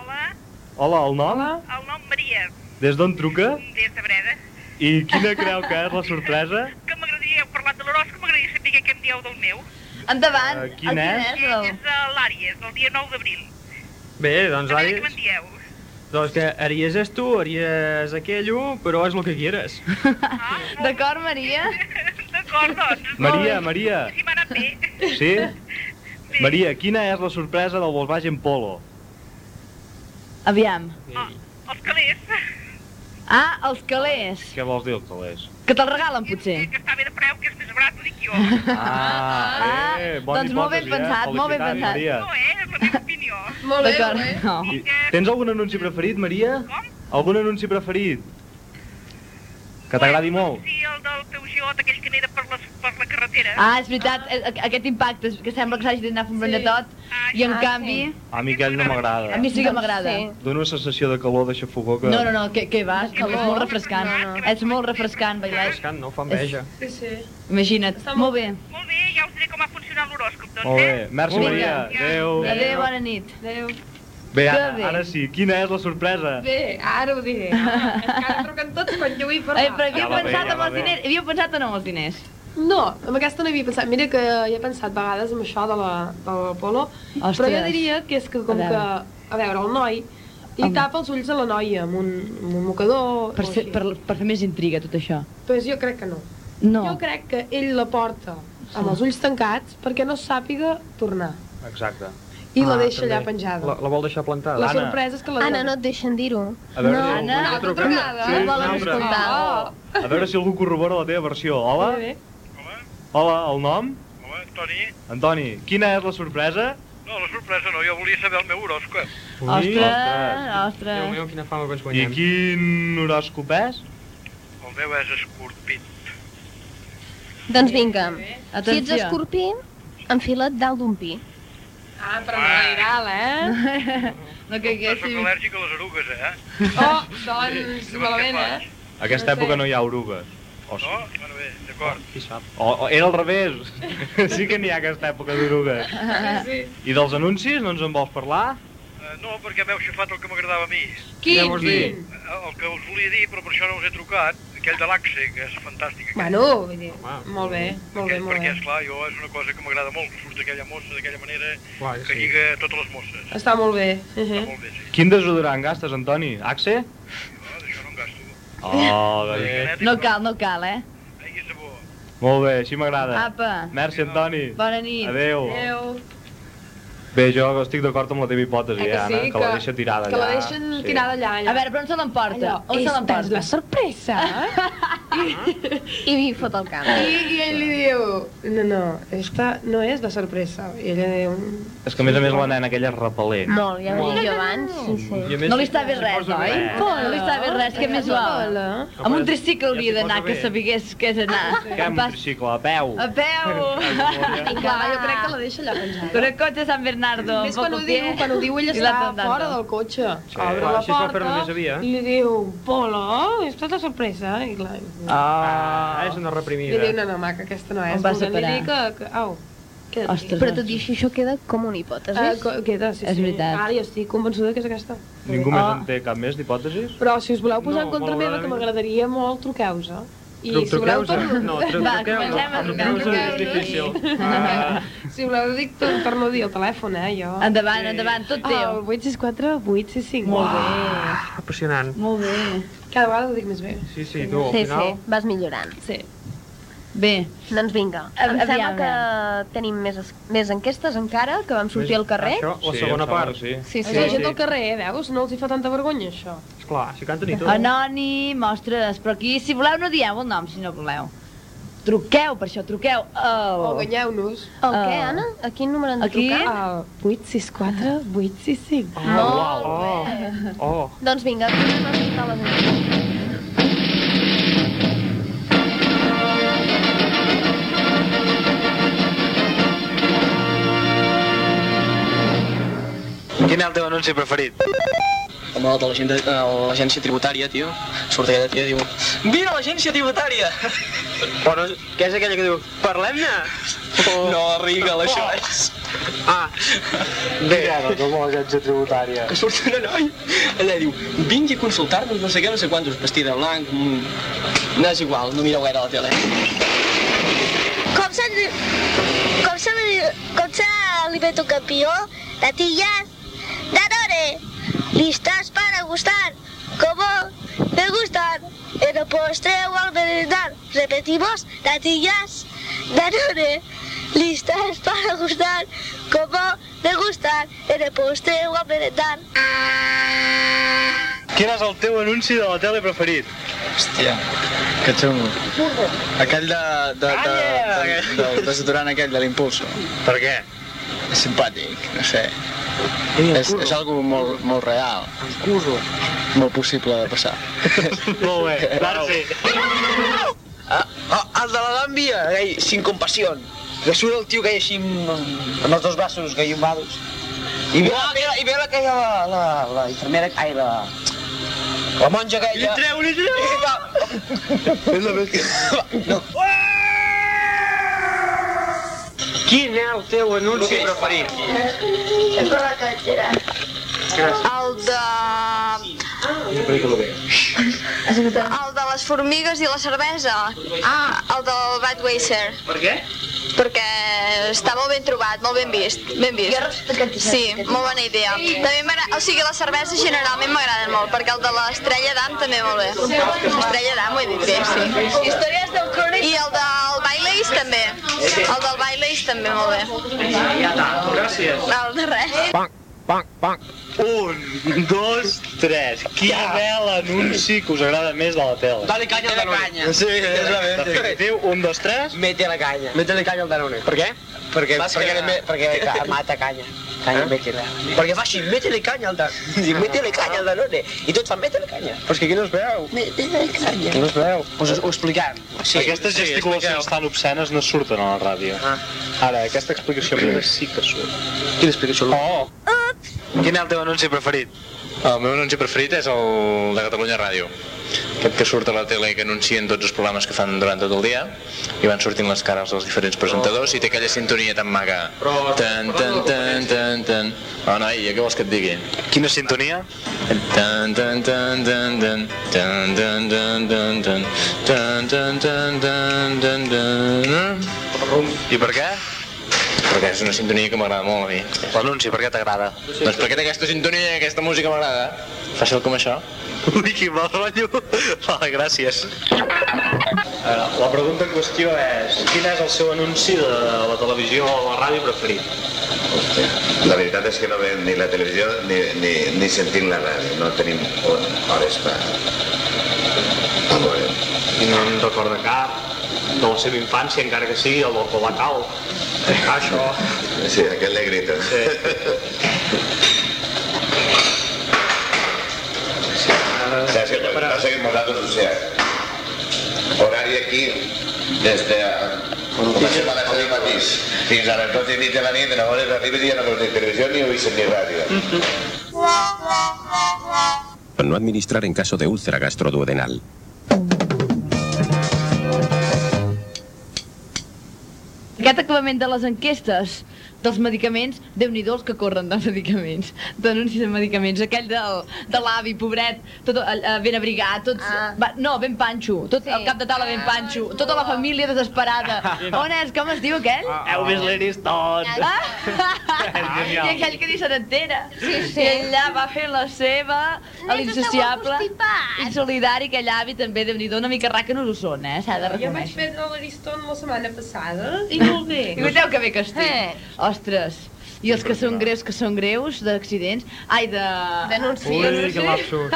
[SPEAKER 4] Hola, el nom?
[SPEAKER 12] El nom Maria,
[SPEAKER 4] Des d'on truca?
[SPEAKER 12] des de Breda.
[SPEAKER 4] I quina creu que és la sorpresa?
[SPEAKER 12] Que m'agradaria, heu parlat de l'horòscop, m'agradaria saber què em dieu del meu.
[SPEAKER 5] Endavant.
[SPEAKER 4] Eh, quin El quin és? és,
[SPEAKER 12] Ell
[SPEAKER 4] el-
[SPEAKER 12] és de l'Àries, el dia 9 d'abril.
[SPEAKER 15] Bé, doncs,
[SPEAKER 12] A veure què
[SPEAKER 15] Aries,
[SPEAKER 12] me'n dieu.
[SPEAKER 15] doncs que Aries és tu, Aries aquello, però és el que quieres.
[SPEAKER 5] D'acord, Maria?
[SPEAKER 12] D'acord, doncs.
[SPEAKER 4] Maria, Maria.
[SPEAKER 12] Si m'ha anat bé.
[SPEAKER 4] Sí? Maria, quina és la sorpresa del Volkswagen Polo?
[SPEAKER 5] Aviam.
[SPEAKER 12] Els calés. eh,
[SPEAKER 5] Ah, els calés.
[SPEAKER 4] Què vols dir, els calés?
[SPEAKER 5] Que te'l regalen, potser.
[SPEAKER 4] Ah, eh, bona
[SPEAKER 5] doncs molt ben
[SPEAKER 4] hipòtesi,
[SPEAKER 5] pensat,
[SPEAKER 4] eh?
[SPEAKER 5] molt ben
[SPEAKER 4] Felicitats,
[SPEAKER 5] pensat.
[SPEAKER 4] Maria.
[SPEAKER 12] eh,
[SPEAKER 14] Molt bé,
[SPEAKER 5] D'acord.
[SPEAKER 14] molt
[SPEAKER 4] I Tens algun anunci preferit, Maria? Com? Algun anunci preferit? Que t'agradi molt?
[SPEAKER 12] Sí, el del teu jot, aquell que anera per la, per la carretera.
[SPEAKER 5] Ah, és veritat, eh, aqu- aquest impacte, és que sembla que s'hagi d'anar fent sí. tot, i en
[SPEAKER 12] ah,
[SPEAKER 5] canvi...
[SPEAKER 4] A mi aquell no m'agrada.
[SPEAKER 5] A mi Doncs sí que
[SPEAKER 1] Doncs
[SPEAKER 5] m'agrada.
[SPEAKER 4] Dóna una sensació de calor, de xafogó que...
[SPEAKER 5] No, no, no, que, que va, és molt refrescant. És molt refrescant, bailar.
[SPEAKER 15] Refrescant, no fa enveja.
[SPEAKER 5] Sí, sí. Imagina't, molt bé.
[SPEAKER 12] Molt bé, ja us diré com ha funcionat l'horòscop, doncs,
[SPEAKER 4] Molt bé.
[SPEAKER 12] eh?
[SPEAKER 4] Merci,
[SPEAKER 5] Vinga.
[SPEAKER 4] Maria. Adéu.
[SPEAKER 5] Adéu, bona nit. Adéu.
[SPEAKER 4] Bé,
[SPEAKER 5] Que
[SPEAKER 4] ara,
[SPEAKER 5] bé.
[SPEAKER 4] ara sí. Quina és la sorpresa?
[SPEAKER 14] Bé, ara ho diré. home. És que ara truquen tots quan jo vull parlar.
[SPEAKER 5] Eh, però havíeu
[SPEAKER 4] Ja va bé,
[SPEAKER 5] pensat
[SPEAKER 4] ja
[SPEAKER 5] en
[SPEAKER 4] va
[SPEAKER 5] els
[SPEAKER 4] bé.
[SPEAKER 5] diners? Havíeu pensat o no en els diners?
[SPEAKER 1] No, amb aquesta no hi havia pensat. Mira que hi he pensat vegades amb això de la, de la polo,
[SPEAKER 5] Hòsties.
[SPEAKER 1] però jo diria que és que
[SPEAKER 5] A
[SPEAKER 1] com que,
[SPEAKER 5] veure.
[SPEAKER 1] a veure, el noi li tapa els ulls a la noia amb un, amb un
[SPEAKER 2] Oh,
[SPEAKER 1] mocador
[SPEAKER 5] Per, ser, per, per fer més intriga, tot això.
[SPEAKER 1] Pues jo crec que no.
[SPEAKER 5] No.
[SPEAKER 1] Jo crec que ell la porta amb
[SPEAKER 5] Sí.
[SPEAKER 1] els ulls tancats perquè no sàpiga tornar.
[SPEAKER 4] Exacte.
[SPEAKER 1] I la deixa allà penjada.
[SPEAKER 15] Ah, La, la vol deixar plantada.
[SPEAKER 1] La sorpresa és que la
[SPEAKER 19] Anna, no et deixen dir-ho.
[SPEAKER 4] A veure,
[SPEAKER 19] no,
[SPEAKER 4] si
[SPEAKER 19] Anna,
[SPEAKER 4] alguna
[SPEAKER 19] altra
[SPEAKER 4] trucada.
[SPEAKER 19] trucada.
[SPEAKER 4] Sí,
[SPEAKER 19] No
[SPEAKER 4] una
[SPEAKER 19] volen
[SPEAKER 4] altra.
[SPEAKER 19] escoltar.
[SPEAKER 1] Ah, oh.
[SPEAKER 4] A veure si algú corrobora la teva versió. Hola? Hola, el nom?
[SPEAKER 6] Home, Toni,
[SPEAKER 4] Antoni, quina és la sorpresa?
[SPEAKER 6] no, la sorpresa no, jo volia saber el meu horòscop.
[SPEAKER 4] Ui, ostres.
[SPEAKER 5] ostres.
[SPEAKER 15] Déu meu, quina fama que ens
[SPEAKER 4] I
[SPEAKER 15] guanyem.
[SPEAKER 4] quin horòscop és?
[SPEAKER 6] El meu és escorpit.
[SPEAKER 19] Doncs vinga, si ets
[SPEAKER 5] Atenció.
[SPEAKER 19] escorpí, enfila't dalt d'un pi.
[SPEAKER 1] Ah, però no lairal, eh?
[SPEAKER 5] No que
[SPEAKER 6] Jo sóc al·lèrgic a les erugues, eh?
[SPEAKER 1] Oh, doncs, malament, eh?
[SPEAKER 4] A aquesta
[SPEAKER 1] No sé.
[SPEAKER 4] època no hi ha oruga. O, Oh, sí.
[SPEAKER 6] No? Bueno, bé, d'acord.
[SPEAKER 15] Qui sap?
[SPEAKER 4] o, o era al revés. sí que n'hi ha a aquesta època d'orugues.
[SPEAKER 6] sí.
[SPEAKER 4] I dels anuncis, no ens en vols parlar?
[SPEAKER 6] Eh, no, perquè m'heu xafat el que m'agradava a mi.
[SPEAKER 4] Quin? Què vols dir?
[SPEAKER 6] Eh, El que us volia dir, però per això no us he trucat, aquell de l'Axe, que és fantàstic. Aquell.
[SPEAKER 1] Bueno, vull dir, molt bé, molt bé, molt
[SPEAKER 6] perquè,
[SPEAKER 1] bé.
[SPEAKER 6] esclar, jo és una cosa que m'agrada molt, que surt d'aquella mossa d'aquella manera,
[SPEAKER 15] Clar,
[SPEAKER 6] que lliga totes les mosses.
[SPEAKER 1] Està molt bé. Uh
[SPEAKER 6] Està molt bé, sí.
[SPEAKER 4] Quin desodorant gastes, Antoni? Axe? No, d'això no en gasto. Oh, bé.
[SPEAKER 5] No cal, no cal, eh?
[SPEAKER 4] Molt bé, així m'agrada.
[SPEAKER 5] Apa.
[SPEAKER 4] Merci, Antoni.
[SPEAKER 5] Ah. Bona nit.
[SPEAKER 4] Adéu.
[SPEAKER 1] Adéu.
[SPEAKER 4] Bé, jo estic d'acord amb la teva hipòtesi,
[SPEAKER 1] Eh
[SPEAKER 4] eh,
[SPEAKER 1] que
[SPEAKER 4] Anna,
[SPEAKER 1] sí,
[SPEAKER 4] que, la
[SPEAKER 1] que-
[SPEAKER 4] deixa tirada
[SPEAKER 1] que
[SPEAKER 4] allà.
[SPEAKER 1] la deixen tirada allà, allà.
[SPEAKER 5] A veure, però on se l'emporta?
[SPEAKER 1] Allò,
[SPEAKER 5] On se
[SPEAKER 1] "Esta
[SPEAKER 5] l'emporta?
[SPEAKER 1] és la sorpresa.
[SPEAKER 19] I li fot el camp.
[SPEAKER 1] I, I ell li diu, no, no, esta no és la sorpresa. I ella diu... "Mm,
[SPEAKER 4] És que a més a més la nena aquella és repel·lent.
[SPEAKER 19] Molt, ja ho he dit jo abans, sí, sí.
[SPEAKER 4] I a més-
[SPEAKER 5] No li està bé res, oi? No li està bé res, què més vol? Amb un tricicle hauria d'anar, que sabigués què és anar.
[SPEAKER 4] Que amb
[SPEAKER 5] Pas-
[SPEAKER 4] tricicle, a peu.
[SPEAKER 5] A peu!
[SPEAKER 1] Ah, Clar, jo crec que la deixa allà penjada.
[SPEAKER 5] Coracote San Bernardo,
[SPEAKER 1] Més quan ho
[SPEAKER 5] poco
[SPEAKER 1] diu,
[SPEAKER 5] pie.
[SPEAKER 1] quan ho diu, ell
[SPEAKER 5] I la
[SPEAKER 1] està
[SPEAKER 5] tandando.
[SPEAKER 1] fora del cotxe.
[SPEAKER 15] Sí.
[SPEAKER 1] Obre
[SPEAKER 15] Clar,
[SPEAKER 1] la
[SPEAKER 15] així es va fer
[SPEAKER 1] porta
[SPEAKER 15] només havia, eh?
[SPEAKER 1] i li diu, Polo, esta és la sorpresa. I clar,
[SPEAKER 15] Ah, és una
[SPEAKER 1] li
[SPEAKER 15] reprimida.
[SPEAKER 1] diu, no, no, maca, aquesta no és.
[SPEAKER 5] Em va
[SPEAKER 1] Volguem dir
[SPEAKER 5] separar.
[SPEAKER 1] Que, que, au, queda't aquí.
[SPEAKER 5] Ostres,
[SPEAKER 19] Però tot i així, això queda com una hipòtesi.
[SPEAKER 1] Eh, co- queda, sí,
[SPEAKER 5] És
[SPEAKER 1] sí.
[SPEAKER 5] veritat.
[SPEAKER 1] Ara jo estic convençuda que és aquesta.
[SPEAKER 4] Ningú més
[SPEAKER 1] Ah.
[SPEAKER 4] en té cap més d'hipòtesis?
[SPEAKER 1] Però si us voleu posar
[SPEAKER 4] No,
[SPEAKER 1] en contra meva, que
[SPEAKER 4] malauradament.
[SPEAKER 1] m'agradaria molt, truqueu-se. I
[SPEAKER 4] Truc-
[SPEAKER 1] si voleu
[SPEAKER 4] truqueu-se?
[SPEAKER 1] torno...
[SPEAKER 4] No, truc- Va, truqueu-nos. comencem a trucar. Truqueu-nos és difícil. Ah.
[SPEAKER 1] Si voleu dic, tor- torno a dir el telèfon, eh, jo.
[SPEAKER 5] Endavant, endavant, tot teu.
[SPEAKER 1] El 864 865.
[SPEAKER 5] Molt
[SPEAKER 1] Ah, bé.
[SPEAKER 15] Ah, Apassionant.
[SPEAKER 5] Molt bé.
[SPEAKER 1] Cada vegada ho dic més bé.
[SPEAKER 15] Sí, sí, tu, al
[SPEAKER 19] sí,
[SPEAKER 15] final...
[SPEAKER 19] sí, vas millorant.
[SPEAKER 1] Sí. Bé. Doncs vinga.
[SPEAKER 20] A-
[SPEAKER 1] Em sembla
[SPEAKER 20] aviam,
[SPEAKER 1] que tenim més, es- més enquestes encara, que vam sortir
[SPEAKER 14] Més-
[SPEAKER 1] al carrer.
[SPEAKER 14] Això, la
[SPEAKER 4] Sí, em
[SPEAKER 14] segona
[SPEAKER 4] sembla
[SPEAKER 14] part.
[SPEAKER 4] que sí.
[SPEAKER 1] Sí,
[SPEAKER 21] És la gent del carrer, eh, veus? No els hi fa tanta vergonya, això.
[SPEAKER 14] Esclar, si canten i tot.
[SPEAKER 5] Ah, Anònim, ostres, però aquí, si voleu, no dieu el nom, si no voleu. Truqueu, per això, truqueu. Oh.
[SPEAKER 21] O guanyeu-nos.
[SPEAKER 1] El què, Anna? A quin número hem de
[SPEAKER 5] Ah. Aquí?
[SPEAKER 1] trucar?
[SPEAKER 5] Al 864 865.
[SPEAKER 15] Ah,
[SPEAKER 1] Ah, Molt bé.
[SPEAKER 14] Oh.
[SPEAKER 1] Doncs vinga, tornem a escoltar les enquestes.
[SPEAKER 15] Quin és el teu anunci preferit? Home, el de l'agent- eh, l'agència tributària, tio. Surt aquella tia i diu... Vine a l'agència tributària! Bueno, què és aquella que diu? Parlem-ne? Oh. No, Rigel, això oh. és... Ah, bé. Mira, doncs, com l'agència tributària. Que surt una noia, allà diu, vingui a consultar-nos, no sé què, no sé quantos, vestida de blanc... mm, No és igual, no mireu gaire la tele.
[SPEAKER 10] Com se, li- com se, li- com se alimenta un campió? Natillas, Danone, listas para gustar, como me gustan. En el postre o al merendar, repetimos, natillas, Danone, listas para gustar, como me gustan. En el postre o al merendar.
[SPEAKER 15] Quin és el teu anunci de la tele preferit? Hòstia,
[SPEAKER 8] Que xungo. Aquell de, de, de, de, de, de desodorant aquell de l'impulso. Per què? És simpàtic, no sé. És, és algo molt, molt real. Cuso. Molt possible de passar.
[SPEAKER 6] Molt bé, Darcy. Ah, ah, el de la gàmbia, gai, sin compasión. Que surt el tio que hi ha així amb, amb els dos braços gaiombados. I veu, i veu, i veu aquella, la, la, la infermera, ai, la... La monja aquella... Li treu, li treu! És la bèstia. No.
[SPEAKER 15] Quin és el teu anunci preferit?
[SPEAKER 13] El de... El de les formigues i la cervesa. Ah, el del Budweiser.
[SPEAKER 6] Per què?
[SPEAKER 13] Perquè està molt ben trobat, molt ben vist, ben vist. Sí, molt bona idea. També m'agrada, o sigui, la cervesa generalment m'agrada molt, perquè el de l'estrella d'am també molt bé. Estrella d'am ho he dit bé, sí. Històries del Cronic. I el del Baileys també. El del Baileys també molt bé.
[SPEAKER 15] Ja està, gràcies.
[SPEAKER 13] No, de res.
[SPEAKER 15] Pam, pam, pam. Un, dos, tres. Quin ja. bel anunci que us agrada més de la tele.
[SPEAKER 6] Dale caña al Danone.
[SPEAKER 15] Sí, exactament. Definitiu, un, dos, tres.
[SPEAKER 6] Mete la caña.
[SPEAKER 15] Mete-li canya al Danone. Per què?
[SPEAKER 6] Perquè,
[SPEAKER 15] Vas
[SPEAKER 6] perquè,
[SPEAKER 15] quedar-
[SPEAKER 6] me- perquè, ca- mata canya. Canya, eh? mete-la. Perquè fa així, mete-li canya al Danone. Mete-li canya al Danone. I tots fan, mete-li canya.
[SPEAKER 15] Ah. Però és que aquí no es veu.
[SPEAKER 6] Mete-li canya. No es veu. Us, us ho expliquem.
[SPEAKER 4] Sí, Aquestes sí, gesticulacions tan obscenes no surten a la ràdio. Ah. Ara, aquesta explicació meva sí que surt.
[SPEAKER 15] Quina explicació? Oh! Quin és el teu anunci preferit?
[SPEAKER 22] El meu anunci preferit és el de Catalunya Ràdio. Aquest que surt a la tele i que anuncien tots els programes que fan durant tot el dia i van sortint les cares dels diferents presentadors i té aquella sintonia tan maca. Tan, tan, tan, tan, tan. Oh, noi, què vols que et digui?
[SPEAKER 15] Quina sintonia?
[SPEAKER 22] Tan, tan, tan, tan, tan, tan, tan, tan, tan, tan, tan, tan, tan, tan, tan, tan.
[SPEAKER 15] I per què?
[SPEAKER 22] Perquè és una sintonia que m'agrada molt a mi.
[SPEAKER 15] L'anunci, per què t'agrada?
[SPEAKER 22] Doncs perquè té aquesta sintonia i aquesta música m'agrada. Fàcil com això.
[SPEAKER 15] Ui, quin mal rotllo. Vale, gràcies. Eh, La pregunta en qüestió és, quin és el seu anunci de la televisió o la ràdio preferit?
[SPEAKER 23] La veritat és que no veiem ni la televisió ni, ni, ni sentim la ràdio. No tenim hores per...
[SPEAKER 4] I no en recorda cap de la seva infància, encara que sigui el del Colacal. Això.
[SPEAKER 23] Sí, aquest le grito. Sí. Saps què passa? Que nosaltres, o sea, horari aquí, des de... Comencem a les 10 del matí fins a les 12 i mig de la nit, llavors arribes i ja no veus ni televisió ni oís ni ràdio.
[SPEAKER 12] No administrar en caso de úlcera gastroduodenal.
[SPEAKER 20] Aquest
[SPEAKER 5] acabament de les enquestes dels medicaments, déu nhi els que corren de medicaments, d'anuncis de medicaments, aquell del, de l'avi, pobret, tot eh, eh, ben abrigat, tots, va, no, ben panxo, tot al cap de taula ben panxo, tota la família desesperada. On és, com es diu aquell?
[SPEAKER 6] Ah.
[SPEAKER 5] Ah.
[SPEAKER 24] Heu vist l'Aristot?
[SPEAKER 5] doncs. I
[SPEAKER 24] Genial.
[SPEAKER 5] aquell que ni se n'entera.
[SPEAKER 24] Sí, sí.
[SPEAKER 5] I allà va fer la seva, a l'insociable,
[SPEAKER 24] Nen, està
[SPEAKER 5] insolidari, aquell avi també, déu nhi una mica racanos ho són, eh? S'ha
[SPEAKER 2] Jo
[SPEAKER 5] de
[SPEAKER 2] vaig
[SPEAKER 5] reconèixer.
[SPEAKER 2] prendre l'Ariston la setmana passada i molt bé.
[SPEAKER 5] I veieu que bé que estic.
[SPEAKER 1] Eh.
[SPEAKER 5] Ostres, i els que són greus, que són greus, d'accidents, ai, de...
[SPEAKER 2] D'anuncis.
[SPEAKER 24] Ui, que lapsus.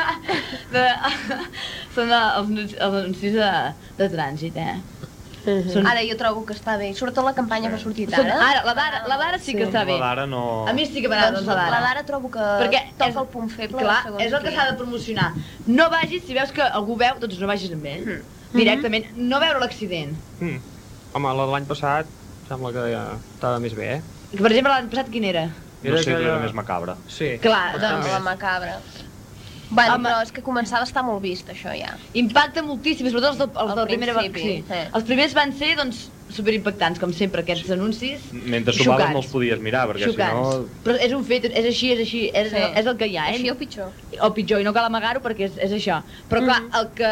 [SPEAKER 5] de... Són els, anunci- els anuncis de, de trànsit, eh? Són...
[SPEAKER 1] Mhm. Ara jo trobo que està bé. Surt a la campanya que ha sortit
[SPEAKER 5] Són-
[SPEAKER 1] ara.
[SPEAKER 5] ara, la d'ara- la d'ara sí que està bé. La d'ara
[SPEAKER 4] no...
[SPEAKER 5] A mi sí que m'agrada, doncs, la d'ara.
[SPEAKER 1] La d'ara trobo que
[SPEAKER 5] Perquè
[SPEAKER 1] toca el punt feble.
[SPEAKER 5] Clar,
[SPEAKER 1] segons
[SPEAKER 5] és el que
[SPEAKER 1] què.
[SPEAKER 5] s'ha de promocionar. No vagis, si veus que algú veu, doncs no vagis amb ell.
[SPEAKER 1] Mhm.
[SPEAKER 5] Directament, no veure l'accident.
[SPEAKER 15] Mm. Home, la de l'any passat sembla que ja estava més bé, eh?
[SPEAKER 5] Per exemple, l'any passat quin era?
[SPEAKER 4] No sé, però era més macabra.
[SPEAKER 15] Sí.
[SPEAKER 5] Clar,
[SPEAKER 1] Doncs la macabra. Bueno, però és que començava a estar molt vist, això ja.
[SPEAKER 5] Impacta moltíssim, sobretot els, de, els
[SPEAKER 1] Al
[SPEAKER 5] de la primera
[SPEAKER 1] principi,
[SPEAKER 5] vegada. Sí. Els primers van ser, doncs, superimpactants, com sempre, aquests anuncis.
[SPEAKER 4] Mentre sopaves
[SPEAKER 5] Xocants.
[SPEAKER 4] no els podies mirar, Mm, perquè si
[SPEAKER 5] Xocants.
[SPEAKER 4] no...
[SPEAKER 5] Però és un fet, és així, és així, és,
[SPEAKER 1] Sí.
[SPEAKER 5] és el que hi ha, eh?
[SPEAKER 1] Així o pitjor.
[SPEAKER 5] O pitjor, i no cal amagar-ho perquè és, és això. Però clar, el que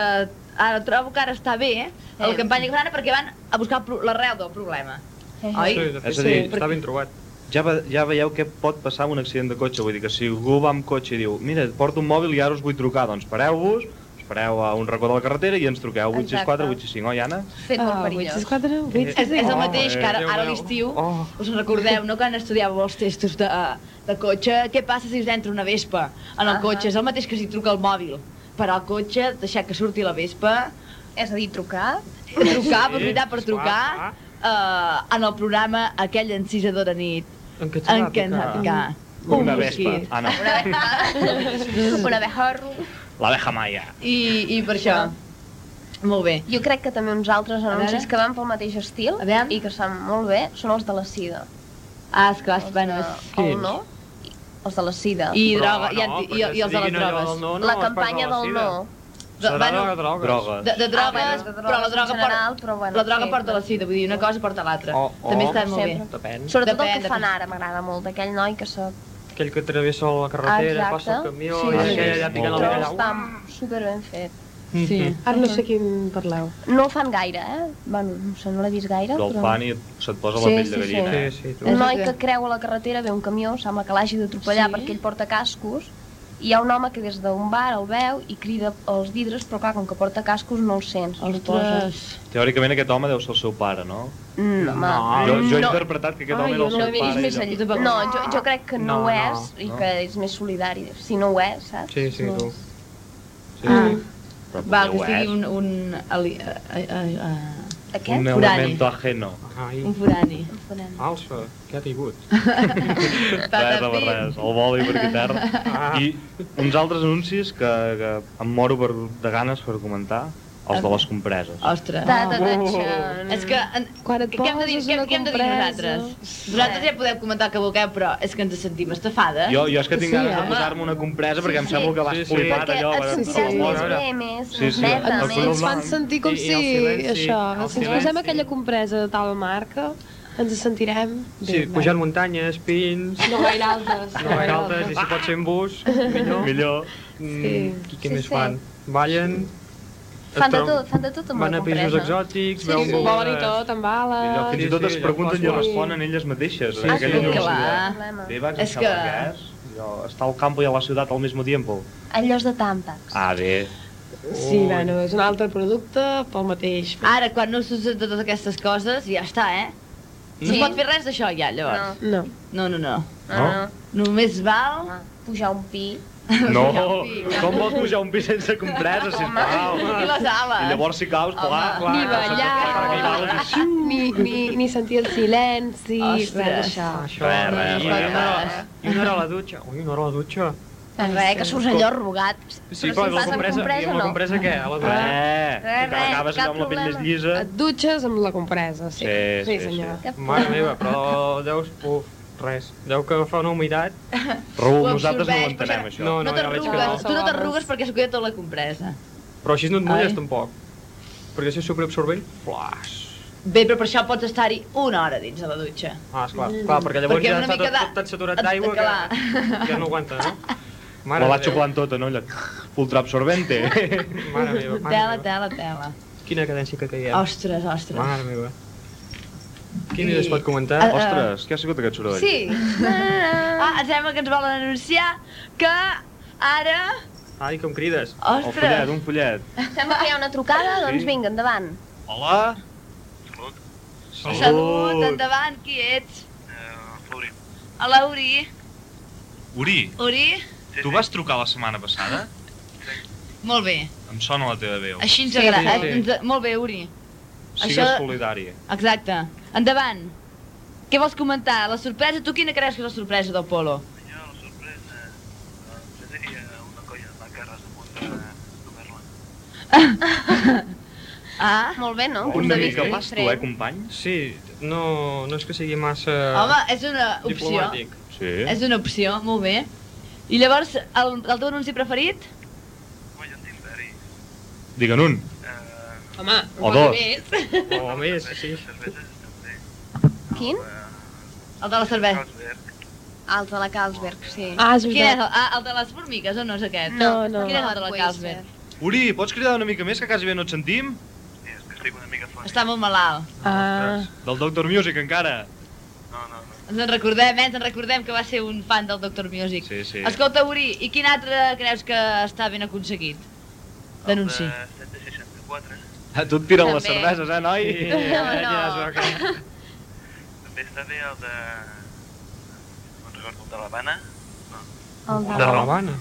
[SPEAKER 5] ara trobo que ara està bé, eh? El
[SPEAKER 1] Eh.
[SPEAKER 5] campanya que fan ara perquè van a buscar el pro- l'arrel del problema. Oi?
[SPEAKER 15] Sí, de fet,
[SPEAKER 4] És a dir,
[SPEAKER 15] sí, està ben trobat.
[SPEAKER 4] Ja, ve, ja veieu què pot passar amb un accident de cotxe, vull dir que si algú va amb cotxe i diu mira, porto un mòbil i ara us vull trucar, doncs pareu-vos, espereu a un racó de la carretera i ens truqueu 864 865, oi Anna?
[SPEAKER 2] Ah,
[SPEAKER 1] Fet
[SPEAKER 5] molt perillós.
[SPEAKER 4] Eh,
[SPEAKER 5] 864, 865. És, és el mateix
[SPEAKER 4] Oh,
[SPEAKER 5] que ara, ara a l'estiu,
[SPEAKER 15] Oh.
[SPEAKER 5] us en recordeu, no? Quan estudiàveu els testos de, de cotxe, què passa si us entra una vespa en el
[SPEAKER 1] Ahà.
[SPEAKER 5] cotxe? És el mateix que si truca el mòbil. Parar el cotxe, deixar que surti la vespa...
[SPEAKER 1] És a dir, trucar?
[SPEAKER 5] Trucar,
[SPEAKER 1] Sí,
[SPEAKER 5] aprofitar per
[SPEAKER 1] esclar,
[SPEAKER 5] trucar... eh, en el programa aquell encisadora nit
[SPEAKER 15] en
[SPEAKER 5] què
[SPEAKER 15] ens va
[SPEAKER 5] ens va
[SPEAKER 15] picar?
[SPEAKER 5] picar.
[SPEAKER 4] Una
[SPEAKER 5] Un
[SPEAKER 4] vespa.
[SPEAKER 5] mosquit.
[SPEAKER 4] Ah, no.
[SPEAKER 1] Una abejorro.
[SPEAKER 4] L'abeja maia.
[SPEAKER 5] I, I per això. Molt bé.
[SPEAKER 1] Jo crec que també uns altres
[SPEAKER 5] veure.
[SPEAKER 1] anuncis que van pel mateix estil i que estan molt bé són els de la sida.
[SPEAKER 5] Ah, esclar, bueno,
[SPEAKER 1] O el no, i- els de la sida.
[SPEAKER 5] I Però droga, ja et no, dic, i- perquè i els si de les diguin allò drogues. del no, no,
[SPEAKER 1] la
[SPEAKER 5] es parla
[SPEAKER 1] campanya
[SPEAKER 5] de la
[SPEAKER 1] del
[SPEAKER 5] sida.
[SPEAKER 1] no.
[SPEAKER 5] De- Serà bueno, de
[SPEAKER 4] drogues. drogues.
[SPEAKER 5] De, de drogues,
[SPEAKER 1] Ah, bueno, de
[SPEAKER 5] però la
[SPEAKER 1] drogues
[SPEAKER 5] droga,
[SPEAKER 1] en general,
[SPEAKER 5] porta,
[SPEAKER 1] però bueno,
[SPEAKER 5] la droga
[SPEAKER 1] sí, doncs.
[SPEAKER 5] porta la sida, vull dir, una cosa porta l'altra.
[SPEAKER 4] Oh,
[SPEAKER 5] També està molt bé.
[SPEAKER 1] Sempre.
[SPEAKER 15] Depèn.
[SPEAKER 1] Sobretot el que
[SPEAKER 5] Depèn,
[SPEAKER 1] fan
[SPEAKER 5] depèn.
[SPEAKER 1] ara m'agrada molt, d'aquell noi que se...
[SPEAKER 15] Aquell que travessa la carretera,
[SPEAKER 1] Exacte.
[SPEAKER 15] passa el camió, eh,
[SPEAKER 1] Sí,
[SPEAKER 15] sí,
[SPEAKER 1] sí,
[SPEAKER 15] aquell
[SPEAKER 1] sí.
[SPEAKER 15] allà picant el
[SPEAKER 1] Però
[SPEAKER 15] bacallà.
[SPEAKER 1] està superben fet.
[SPEAKER 15] Sí.
[SPEAKER 1] Ara no sé
[SPEAKER 2] quin parleu.
[SPEAKER 1] No el fan gaire, eh? Bueno, no sé, no l'he vist gaire,
[SPEAKER 4] Del
[SPEAKER 1] però...
[SPEAKER 4] fan i se't posa la
[SPEAKER 1] Sí,
[SPEAKER 4] pell
[SPEAKER 1] sí,
[SPEAKER 4] de gallina.
[SPEAKER 1] sí.
[SPEAKER 4] eh?
[SPEAKER 15] Sí, sí,
[SPEAKER 1] Un noi que creu a la carretera, ve un camió, sembla que l'hagi d'atropellar
[SPEAKER 5] Sí.
[SPEAKER 1] perquè ell porta cascos, i hi ha un home que des d'un bar el veu i crida els vidres, però clar, com que porta cascos no els sents, els posa.
[SPEAKER 4] Teòricament aquest home deu ser el seu pare, no?
[SPEAKER 1] No, home.
[SPEAKER 4] Jo, jo he
[SPEAKER 1] No.
[SPEAKER 4] interpretat que aquest home era el seu pare. i era-
[SPEAKER 1] No, jo, jo crec que no,
[SPEAKER 4] No,
[SPEAKER 1] ho
[SPEAKER 4] no,
[SPEAKER 1] és i
[SPEAKER 4] no.
[SPEAKER 1] que és més solidari. Si no ho és, saps?
[SPEAKER 15] Sí, sí, tu.
[SPEAKER 4] Sí,
[SPEAKER 5] Ah.
[SPEAKER 4] Però
[SPEAKER 5] Va,
[SPEAKER 4] potser
[SPEAKER 5] que
[SPEAKER 4] ho
[SPEAKER 5] sigui
[SPEAKER 4] és.
[SPEAKER 5] un... un, ali, a, a, a, a,
[SPEAKER 1] Aquest?
[SPEAKER 4] Un elemento ajeno.
[SPEAKER 15] Ai.
[SPEAKER 5] Un forani.
[SPEAKER 15] Alça, què ha caigut?
[SPEAKER 5] Ah,
[SPEAKER 4] Res, home, res. El voli perquè terra. I uns altres anuncis que, que em moro per, de ganes per comentar, els de les compreses.
[SPEAKER 5] Ostres.
[SPEAKER 24] Ta, ta, ta,
[SPEAKER 5] Oh. És que... En, Quan et què hem de dir, què, què hem de dir nosaltres? Nosaltres ja podem comentar que vulgueu, però és que ens sentim estafades.
[SPEAKER 4] Jo, jo és que tinc ganes de
[SPEAKER 5] eh?
[SPEAKER 4] posar-me una compresa perquè em sembla que vas
[SPEAKER 15] Sí, sí.
[SPEAKER 4] polipat
[SPEAKER 15] Perquè
[SPEAKER 4] allò.
[SPEAKER 15] et
[SPEAKER 4] va-
[SPEAKER 15] sentiràs
[SPEAKER 4] va-
[SPEAKER 15] més
[SPEAKER 4] va-
[SPEAKER 15] bé,
[SPEAKER 25] més
[SPEAKER 4] Sí, sí,
[SPEAKER 25] neta,
[SPEAKER 4] el
[SPEAKER 25] més.
[SPEAKER 4] color
[SPEAKER 25] Ens fan
[SPEAKER 4] blanc.
[SPEAKER 25] sentir com
[SPEAKER 4] I- i
[SPEAKER 25] si,
[SPEAKER 4] el silenci,
[SPEAKER 25] això,
[SPEAKER 15] el
[SPEAKER 25] si ens
[SPEAKER 15] silenci.
[SPEAKER 25] posem aquella compresa de tal marca, ens sentirem
[SPEAKER 15] Sí, pujant muntanyes, pins...
[SPEAKER 25] No gaire altes.
[SPEAKER 15] No gaire altes, i si pot ser en bus, millor.
[SPEAKER 4] Millor.
[SPEAKER 15] Mm, sí. Què
[SPEAKER 1] Sí,
[SPEAKER 15] més
[SPEAKER 1] sí.
[SPEAKER 15] fan? Ballen... es
[SPEAKER 1] Fan de
[SPEAKER 15] troben-
[SPEAKER 1] tot, fan de tot amb
[SPEAKER 15] Van
[SPEAKER 1] la
[SPEAKER 15] a països
[SPEAKER 1] compresa.
[SPEAKER 15] exòtics,
[SPEAKER 1] Sí,
[SPEAKER 15] veuen
[SPEAKER 1] sí.
[SPEAKER 15] begudes...
[SPEAKER 1] Volen i tot,
[SPEAKER 25] amb bales...
[SPEAKER 2] eh?
[SPEAKER 4] Allò, fins i tot es pregunten i responen elles mateixes.
[SPEAKER 15] Sí,
[SPEAKER 14] Ah,
[SPEAKER 4] en
[SPEAKER 15] sí,
[SPEAKER 4] aquella
[SPEAKER 15] sí,
[SPEAKER 4] universitat.
[SPEAKER 1] clar.
[SPEAKER 4] Bé, vaig
[SPEAKER 1] És
[SPEAKER 4] deixar
[SPEAKER 1] que-
[SPEAKER 4] que... gas, allò, estar al campo i a la ciutat al mismo tiempo.
[SPEAKER 1] En llocs de tampa.
[SPEAKER 4] Ah, bé.
[SPEAKER 15] Oh,
[SPEAKER 2] Sí, bueno, és un altre producte pel mateix.
[SPEAKER 5] Ara, quan no s'usen totes aquestes coses, ja està, eh? No
[SPEAKER 2] Sí.
[SPEAKER 5] es pot fer res d'això ja, llavors.
[SPEAKER 2] No.
[SPEAKER 5] No, no, no.
[SPEAKER 4] No?
[SPEAKER 5] Només val...
[SPEAKER 1] Pujar un pi.
[SPEAKER 4] No, com vols pujar un pi sense compresa, sisplau?
[SPEAKER 2] Home, i les ales.
[SPEAKER 4] I llavors si caus, clar, clar.
[SPEAKER 2] ni ballar, Ah, ni, ni, ni sentir el silenci, res d'això.
[SPEAKER 15] Això,
[SPEAKER 4] Res, res,
[SPEAKER 15] i,
[SPEAKER 4] res.
[SPEAKER 15] una, I una hora a la dutxa. Ui, una hora a la dutxa.
[SPEAKER 1] En res, que surts allò arrugat.
[SPEAKER 15] Sí,
[SPEAKER 1] però
[SPEAKER 15] però
[SPEAKER 1] si
[SPEAKER 15] la
[SPEAKER 1] fas amb
[SPEAKER 15] compresa, i
[SPEAKER 1] compresa,
[SPEAKER 15] amb la
[SPEAKER 1] no.
[SPEAKER 15] compresa què? A la dutxa?
[SPEAKER 4] Eh,
[SPEAKER 1] Res, res,
[SPEAKER 4] acabes allò amb la pell més llisa.
[SPEAKER 2] Et dutxes amb la compresa, sí.
[SPEAKER 4] Sí, sí,
[SPEAKER 2] senyor.
[SPEAKER 15] Mare meva, però deus... Uf, res. Deu que fa una humitat.
[SPEAKER 4] Raül,
[SPEAKER 5] Ho
[SPEAKER 4] nosaltres no ho
[SPEAKER 5] absorbeix,
[SPEAKER 4] entenem, això.
[SPEAKER 15] No, no,
[SPEAKER 5] No
[SPEAKER 15] ja veig que
[SPEAKER 5] t'arrugues, tu
[SPEAKER 15] no.
[SPEAKER 5] no t'arrugues perquè s'ho queda tot la compresa.
[SPEAKER 15] Però així no et mulles
[SPEAKER 5] Ai.
[SPEAKER 15] tampoc. Perquè si és superabsorbent, flash.
[SPEAKER 5] Bé, però per això pots estar-hi una hora dins de la dutxa.
[SPEAKER 15] Ah, esclar, clar, perquè llavors
[SPEAKER 5] Perquè
[SPEAKER 15] ja
[SPEAKER 5] una
[SPEAKER 15] està
[SPEAKER 5] mica
[SPEAKER 15] tot,
[SPEAKER 5] de-
[SPEAKER 15] tot tan saturat d'aigua que, que no aguanta, no? Mare
[SPEAKER 4] Me
[SPEAKER 15] de
[SPEAKER 4] l'ha
[SPEAKER 15] Déu.
[SPEAKER 4] xuplant tota, no? Allò, ultraabsorbente.
[SPEAKER 15] Mare meva, mare
[SPEAKER 5] Tela, tela, tela.
[SPEAKER 15] meva. Quina cadència que caiem.
[SPEAKER 5] Ostres, ostres.
[SPEAKER 15] Mare meva. Quin
[SPEAKER 5] I-
[SPEAKER 15] es pot comentar?
[SPEAKER 5] Ah, ah.
[SPEAKER 4] Ostres, què ha sigut aquest soroll?
[SPEAKER 5] Sí. Ah, em sembla que ens volen anunciar que ara...
[SPEAKER 15] Ai, com crides.
[SPEAKER 4] Un
[SPEAKER 5] Ostres.
[SPEAKER 4] follet, un follet.
[SPEAKER 14] Sembla que hi ha una trucada, doncs vinga, endavant.
[SPEAKER 6] Hola.
[SPEAKER 5] Salut,
[SPEAKER 6] Salut.
[SPEAKER 5] Salut endavant, qui ets?
[SPEAKER 6] Uri.
[SPEAKER 5] Hola, Uri.
[SPEAKER 4] Uri,
[SPEAKER 5] Uri?
[SPEAKER 4] tu vas trucar la setmana passada?
[SPEAKER 5] Molt bé.
[SPEAKER 4] Em sona la teva veu.
[SPEAKER 5] Així ens agrada. eh? Ens... Molt bé, Uri.
[SPEAKER 4] Sigues
[SPEAKER 5] Això-
[SPEAKER 4] solidari.
[SPEAKER 5] Exacte. Endavant. Què vols comentar? La sorpresa? Tu quina creus que és la sorpresa del Polo?
[SPEAKER 6] eh,
[SPEAKER 5] Ah.
[SPEAKER 14] Molt bé, no?
[SPEAKER 5] Punts
[SPEAKER 14] Una de mica vista
[SPEAKER 15] pas
[SPEAKER 14] pas tu, diferent. eh,
[SPEAKER 15] company? Sí, no, no és que sigui massa...
[SPEAKER 5] Home, és una opció.
[SPEAKER 15] Ah. Diplomàtic. Sí.
[SPEAKER 5] És una opció, molt bé. I llavors, el, el teu anunci preferit?
[SPEAKER 4] Digue'n un.
[SPEAKER 6] eh,
[SPEAKER 5] Home,
[SPEAKER 4] O dos.
[SPEAKER 15] O més, Oh, sí.
[SPEAKER 14] Quin?
[SPEAKER 5] El de la cervesa.
[SPEAKER 14] Ah, el de la Carlsberg, sí.
[SPEAKER 5] Ah, és Quin és el, ah, el de les formigues o no és aquest?
[SPEAKER 14] No, no.
[SPEAKER 5] Quin és el de la
[SPEAKER 14] Puede
[SPEAKER 5] Carlsberg?
[SPEAKER 4] Uri, pots cridar una mica més, que quasi bé no et sentim?
[SPEAKER 5] Està molt malalt.
[SPEAKER 4] Ah. Del Doctor Music, encara.
[SPEAKER 5] Ens en recordem, eh? Ens en recordem que va ser un fan del Doctor Music.
[SPEAKER 4] Sí, sí.
[SPEAKER 5] Escolta, Uri, i quin altre creus que està ben aconseguit? D'anunci.
[SPEAKER 4] A tu et tiren les
[SPEAKER 5] També.
[SPEAKER 4] cerveses, eh, noi?
[SPEAKER 5] Sí, No, no. ja es veu
[SPEAKER 6] També està bé el de... No recordo, el de l'Havana.
[SPEAKER 15] De l'Havana.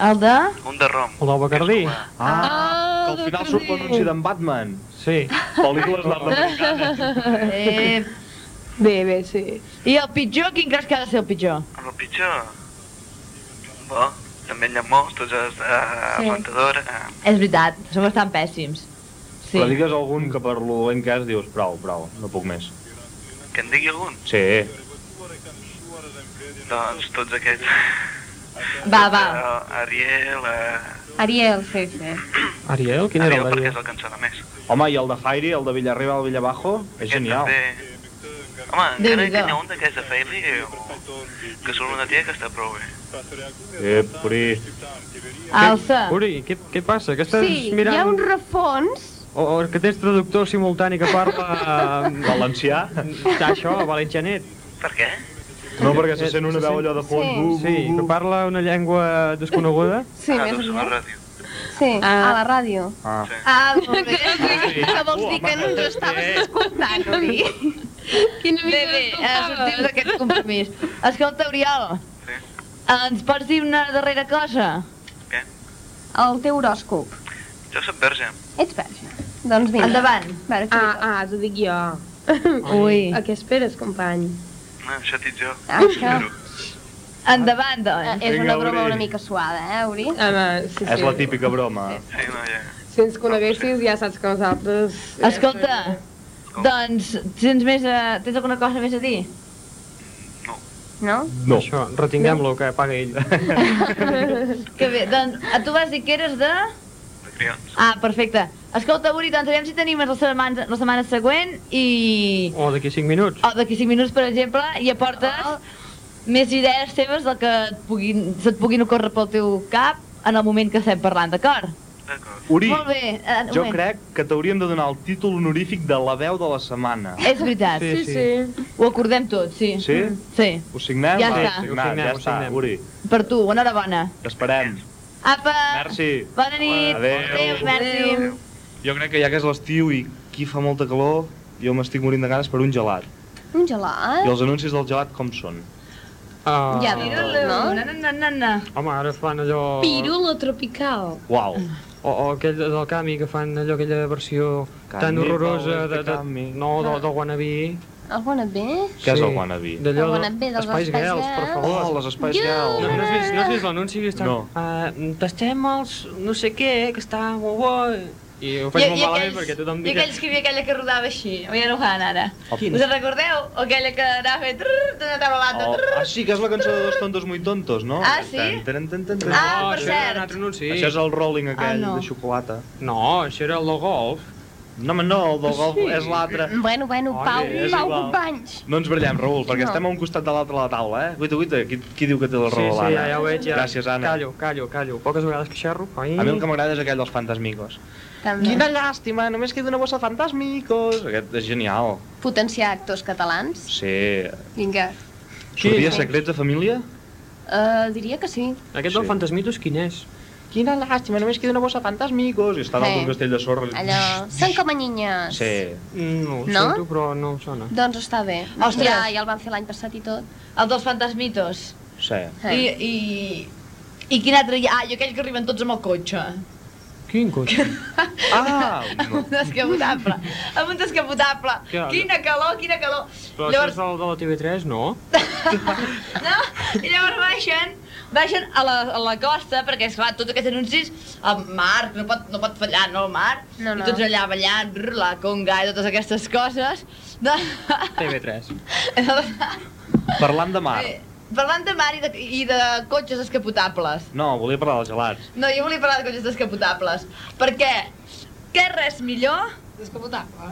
[SPEAKER 5] El de?
[SPEAKER 6] Un de rom.
[SPEAKER 15] O del Bacardí.
[SPEAKER 4] Ah, que al final surt l'anunci d'en Batman.
[SPEAKER 15] Sí.
[SPEAKER 4] Pel·lícules nord-americanes.
[SPEAKER 5] Eh, bé, bé, sí. I el pitjor, quin creus que ha de ser el pitjor?
[SPEAKER 6] El pitjor... Bo, també hi ha molts, tots els de
[SPEAKER 5] Sí.
[SPEAKER 6] sí. rentador... Eh,
[SPEAKER 5] És veritat, som bastant pèssims. Sí.
[SPEAKER 4] Però digues algun que per lo dolent que és dius, prou, prou, no puc més.
[SPEAKER 6] que en digui algun?
[SPEAKER 4] Sí.
[SPEAKER 6] Doncs tots aquests.
[SPEAKER 5] Va, va.
[SPEAKER 6] Eh, Ariel, eh,
[SPEAKER 1] Ariel, sí, sí.
[SPEAKER 15] Ariel? Quin
[SPEAKER 4] era el
[SPEAKER 6] perquè és el que em sona més.
[SPEAKER 4] Home, i el de Fairy, el de Villarriba al Villabajo, és genial.
[SPEAKER 6] També... Home, encara
[SPEAKER 4] Déu-n'hi-do.
[SPEAKER 6] que hi ha un d'aquests de Failey, o... que surt una tia que està prou bé.
[SPEAKER 4] Eh, puri.
[SPEAKER 1] Alça.
[SPEAKER 15] Uri, què, què passa? Que estàs
[SPEAKER 1] Sí, hi
[SPEAKER 15] mirant...
[SPEAKER 1] ha un refons.
[SPEAKER 15] O, o que tens traductor simultani que parla...
[SPEAKER 4] Valencià?
[SPEAKER 15] Això, valencianet.
[SPEAKER 6] Per què?
[SPEAKER 4] No, perquè se sent una
[SPEAKER 15] Se
[SPEAKER 4] veu allò de fons.
[SPEAKER 15] Sí, sí que parla una llengua desconeguda.
[SPEAKER 1] Sí,
[SPEAKER 6] Ah,
[SPEAKER 1] més o menys.
[SPEAKER 6] doncs ràdio.
[SPEAKER 1] Sí, a la ràdio.
[SPEAKER 15] Ah.
[SPEAKER 1] Ah, molt bé. Que vols dir que no ens
[SPEAKER 5] estaves
[SPEAKER 1] escoltant, Uri?
[SPEAKER 5] Quina mica bé, bé, eh, sortim d'aquest compromís. Escolta, Oriol, ens pots dir una darrera cosa?
[SPEAKER 6] Què?
[SPEAKER 1] El teu horòscop.
[SPEAKER 6] Jo soc verge.
[SPEAKER 1] Ets verge. Doncs vinga.
[SPEAKER 5] Endavant.
[SPEAKER 1] ah, ah, t'ho dic jo.
[SPEAKER 5] Ui.
[SPEAKER 1] A què esperes, company?
[SPEAKER 6] No, això t'hi jo.
[SPEAKER 1] Ah, això.
[SPEAKER 5] Endavant,
[SPEAKER 1] Eh,
[SPEAKER 5] doncs.
[SPEAKER 14] És
[SPEAKER 4] Vinga,
[SPEAKER 14] una broma
[SPEAKER 4] Uri.
[SPEAKER 14] una mica suada, eh, Uri?
[SPEAKER 1] Home, Ah, sí,
[SPEAKER 4] És la típica broma.
[SPEAKER 6] Sí, no, ja.
[SPEAKER 1] Si ens coneguessis ja saps que nosaltres...
[SPEAKER 2] eh,
[SPEAKER 1] eh,
[SPEAKER 5] Escolta, doncs, tens, més a... tens alguna cosa més a dir? No.
[SPEAKER 15] No. Això, retinguem-lo, que paga ell.
[SPEAKER 5] que bé, doncs, a tu vas dir que eres de... Ah, perfecte. Escolta, Uri, doncs aviam si tenim la setmana, la setmana següent i...
[SPEAKER 15] O d'aquí 5 minuts.
[SPEAKER 5] O Oh, d'aquí 5 minuts, per exemple, i aportes més idees teves del que et puguin, se't puguin ocórrer pel teu cap en el moment que estem parlant, d'acord?
[SPEAKER 4] Uri,
[SPEAKER 5] Molt bé. eh, un
[SPEAKER 4] jo
[SPEAKER 5] moment.
[SPEAKER 4] crec que t'hauríem de donar el títol honorífic de la veu de la setmana.
[SPEAKER 5] És veritat.
[SPEAKER 4] Sí, Sí, sí.
[SPEAKER 5] Ho acordem tot, sí.
[SPEAKER 4] Sí?
[SPEAKER 5] Sí.
[SPEAKER 4] Ho signem?
[SPEAKER 5] Ja
[SPEAKER 4] Va,
[SPEAKER 5] està.
[SPEAKER 4] Signat, ja està, Uri.
[SPEAKER 5] Per tu, enhorabona.
[SPEAKER 4] T'esperem.
[SPEAKER 5] Apa!
[SPEAKER 4] Merci.
[SPEAKER 5] Bona nit.
[SPEAKER 4] Adéu.
[SPEAKER 5] Adéu, merci.
[SPEAKER 4] Jo crec que ja que és l'estiu i aquí fa molta calor, jo m'estic morint de ganes per un gelat.
[SPEAKER 14] Un gelat?
[SPEAKER 5] Ah.
[SPEAKER 4] I els anuncis del gelat com són?
[SPEAKER 15] Ah.
[SPEAKER 14] Ja, Pirula,
[SPEAKER 5] No, no, no, no, no.
[SPEAKER 15] Home, ara fan allò...
[SPEAKER 1] Pirula tropical.
[SPEAKER 4] Uau.
[SPEAKER 5] Ah.
[SPEAKER 15] O, o aquell de- del Cami, que fan allò, aquella versió
[SPEAKER 4] Cami,
[SPEAKER 15] tan horrorosa
[SPEAKER 4] Power
[SPEAKER 15] de, de,
[SPEAKER 4] Cami.
[SPEAKER 15] no, del, del Wannabe.
[SPEAKER 14] El wannabe?
[SPEAKER 4] Què és el wannabe?
[SPEAKER 15] D'allò
[SPEAKER 14] El
[SPEAKER 15] de-
[SPEAKER 14] wannabe dels
[SPEAKER 15] Spice
[SPEAKER 14] Spice
[SPEAKER 15] Girls, per
[SPEAKER 14] Girls.
[SPEAKER 15] favor.
[SPEAKER 4] Oh, les Spice You Girls.
[SPEAKER 15] No, no has vist, no has vist l'anunci que està...
[SPEAKER 4] No.
[SPEAKER 15] Uh, tastem els no sé què, que està molt bo. I ho faig
[SPEAKER 5] I- i
[SPEAKER 15] molt malament
[SPEAKER 5] aquells-
[SPEAKER 15] perquè tothom
[SPEAKER 5] I
[SPEAKER 15] diu
[SPEAKER 5] aquells que hi havia aquella que rodava així, ja no ho fan ara.
[SPEAKER 4] Quina?
[SPEAKER 5] Us en recordeu? O aquella que anava fent trrr, d'una tabalata.
[SPEAKER 4] Oh,
[SPEAKER 5] Oh.
[SPEAKER 4] ah, sí, que és la cançó de Dos tontos muy tontos, no?
[SPEAKER 5] Ah, sí?
[SPEAKER 4] Tan, tan, tan, tan, tan.
[SPEAKER 5] Ah, per cert.
[SPEAKER 15] anunci.
[SPEAKER 4] Això és el rolling aquell
[SPEAKER 5] Ah, no.
[SPEAKER 4] de xocolata.
[SPEAKER 15] No, això era el del golf.
[SPEAKER 4] No, home, no, el del golf és l'altre.
[SPEAKER 1] Bueno, bueno,
[SPEAKER 4] Oye,
[SPEAKER 1] Pau,
[SPEAKER 4] és
[SPEAKER 1] Pau
[SPEAKER 4] igual.
[SPEAKER 1] Companys.
[SPEAKER 4] No ens brallem, Raül, perquè
[SPEAKER 1] No.
[SPEAKER 4] estem a un costat de l'altre de la taula, eh? Guita, guita, qui, qui diu que té la
[SPEAKER 15] Sí,
[SPEAKER 4] raó,
[SPEAKER 15] sí,
[SPEAKER 4] l'Anna?
[SPEAKER 15] ja, ja ho veig, ja.
[SPEAKER 4] Gràcies, Anna.
[SPEAKER 15] Callo, callo, callo. Poques vegades que xerro. Ai.
[SPEAKER 4] A mi el que m'agrada és aquell dels fantasmicos.
[SPEAKER 1] També.
[SPEAKER 4] Quina llàstima, només queda una bossa de fantasmicos. Aquest és genial.
[SPEAKER 1] Potenciar actors catalans.
[SPEAKER 4] Sí.
[SPEAKER 1] Vinga.
[SPEAKER 4] Sortia
[SPEAKER 1] Sí.
[SPEAKER 4] Secrets de Família?
[SPEAKER 1] Uh, diria que sí.
[SPEAKER 15] Aquest del Fantasmitos quin és?
[SPEAKER 4] Quina lástima, només queda una bossa de fantasmicos. I està
[SPEAKER 1] Sí.
[SPEAKER 4] dalt d'un castell de sorra.
[SPEAKER 1] Allò... Són com a nyinyes.
[SPEAKER 4] Sí.
[SPEAKER 15] Mm, No,
[SPEAKER 1] ho No? sento,
[SPEAKER 15] però no em sona.
[SPEAKER 1] Doncs està bé.
[SPEAKER 5] Ostres.
[SPEAKER 1] Ja, ja el van fer l'any passat i tot.
[SPEAKER 4] ah.
[SPEAKER 5] El dels fantasmitos.
[SPEAKER 4] Sí.
[SPEAKER 5] I, i, I quin altre hi ha? Ah, i aquell que arriben tots amb el cotxe.
[SPEAKER 15] Quin cotxe?
[SPEAKER 4] Ah!
[SPEAKER 5] Amb un descapotable. Amb un descapotable.
[SPEAKER 15] Ja, no.
[SPEAKER 5] Quina calor, quina calor.
[SPEAKER 15] Però Llavors... això és del, de la TV3, no?
[SPEAKER 5] I llavors baixen, baixen a la, a la costa, perquè és clar, tots aquests anuncis, el mar, no pot, no pot fallar, no, el mar?
[SPEAKER 1] No, no.
[SPEAKER 5] I tots allà ballant, brr, la conga i totes aquestes coses. De...
[SPEAKER 15] TV3.
[SPEAKER 4] Parlant de mar.
[SPEAKER 5] Eh, Parlant de mar i de, i de cotxes descapotables.
[SPEAKER 4] No, volia parlar dels gelats.
[SPEAKER 5] No, jo volia parlar de cotxes descapotables, perquè què res millor... Descapotable,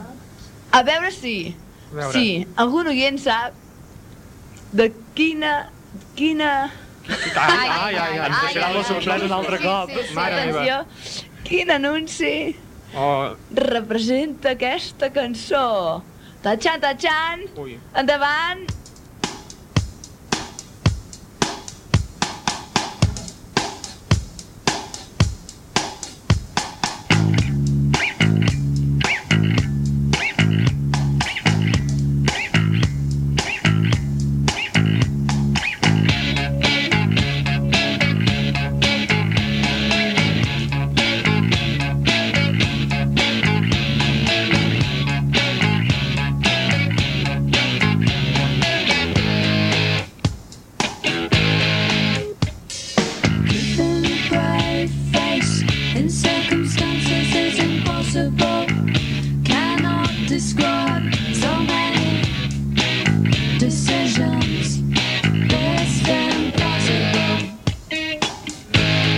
[SPEAKER 5] A veure si,
[SPEAKER 15] A veure.
[SPEAKER 5] si algun oient sap de quina, quina...
[SPEAKER 15] Ai, ai, ai, ens deixaran la sorpresa un altre cop. Mare meva.
[SPEAKER 5] Atenció, quin anunci
[SPEAKER 15] Oh,
[SPEAKER 5] representa aquesta cançó. Tachan, tachan,
[SPEAKER 15] ui.
[SPEAKER 5] endavant.
[SPEAKER 14] brave face in circumstances is impossible. Cannot describe so many decisions. Less than possible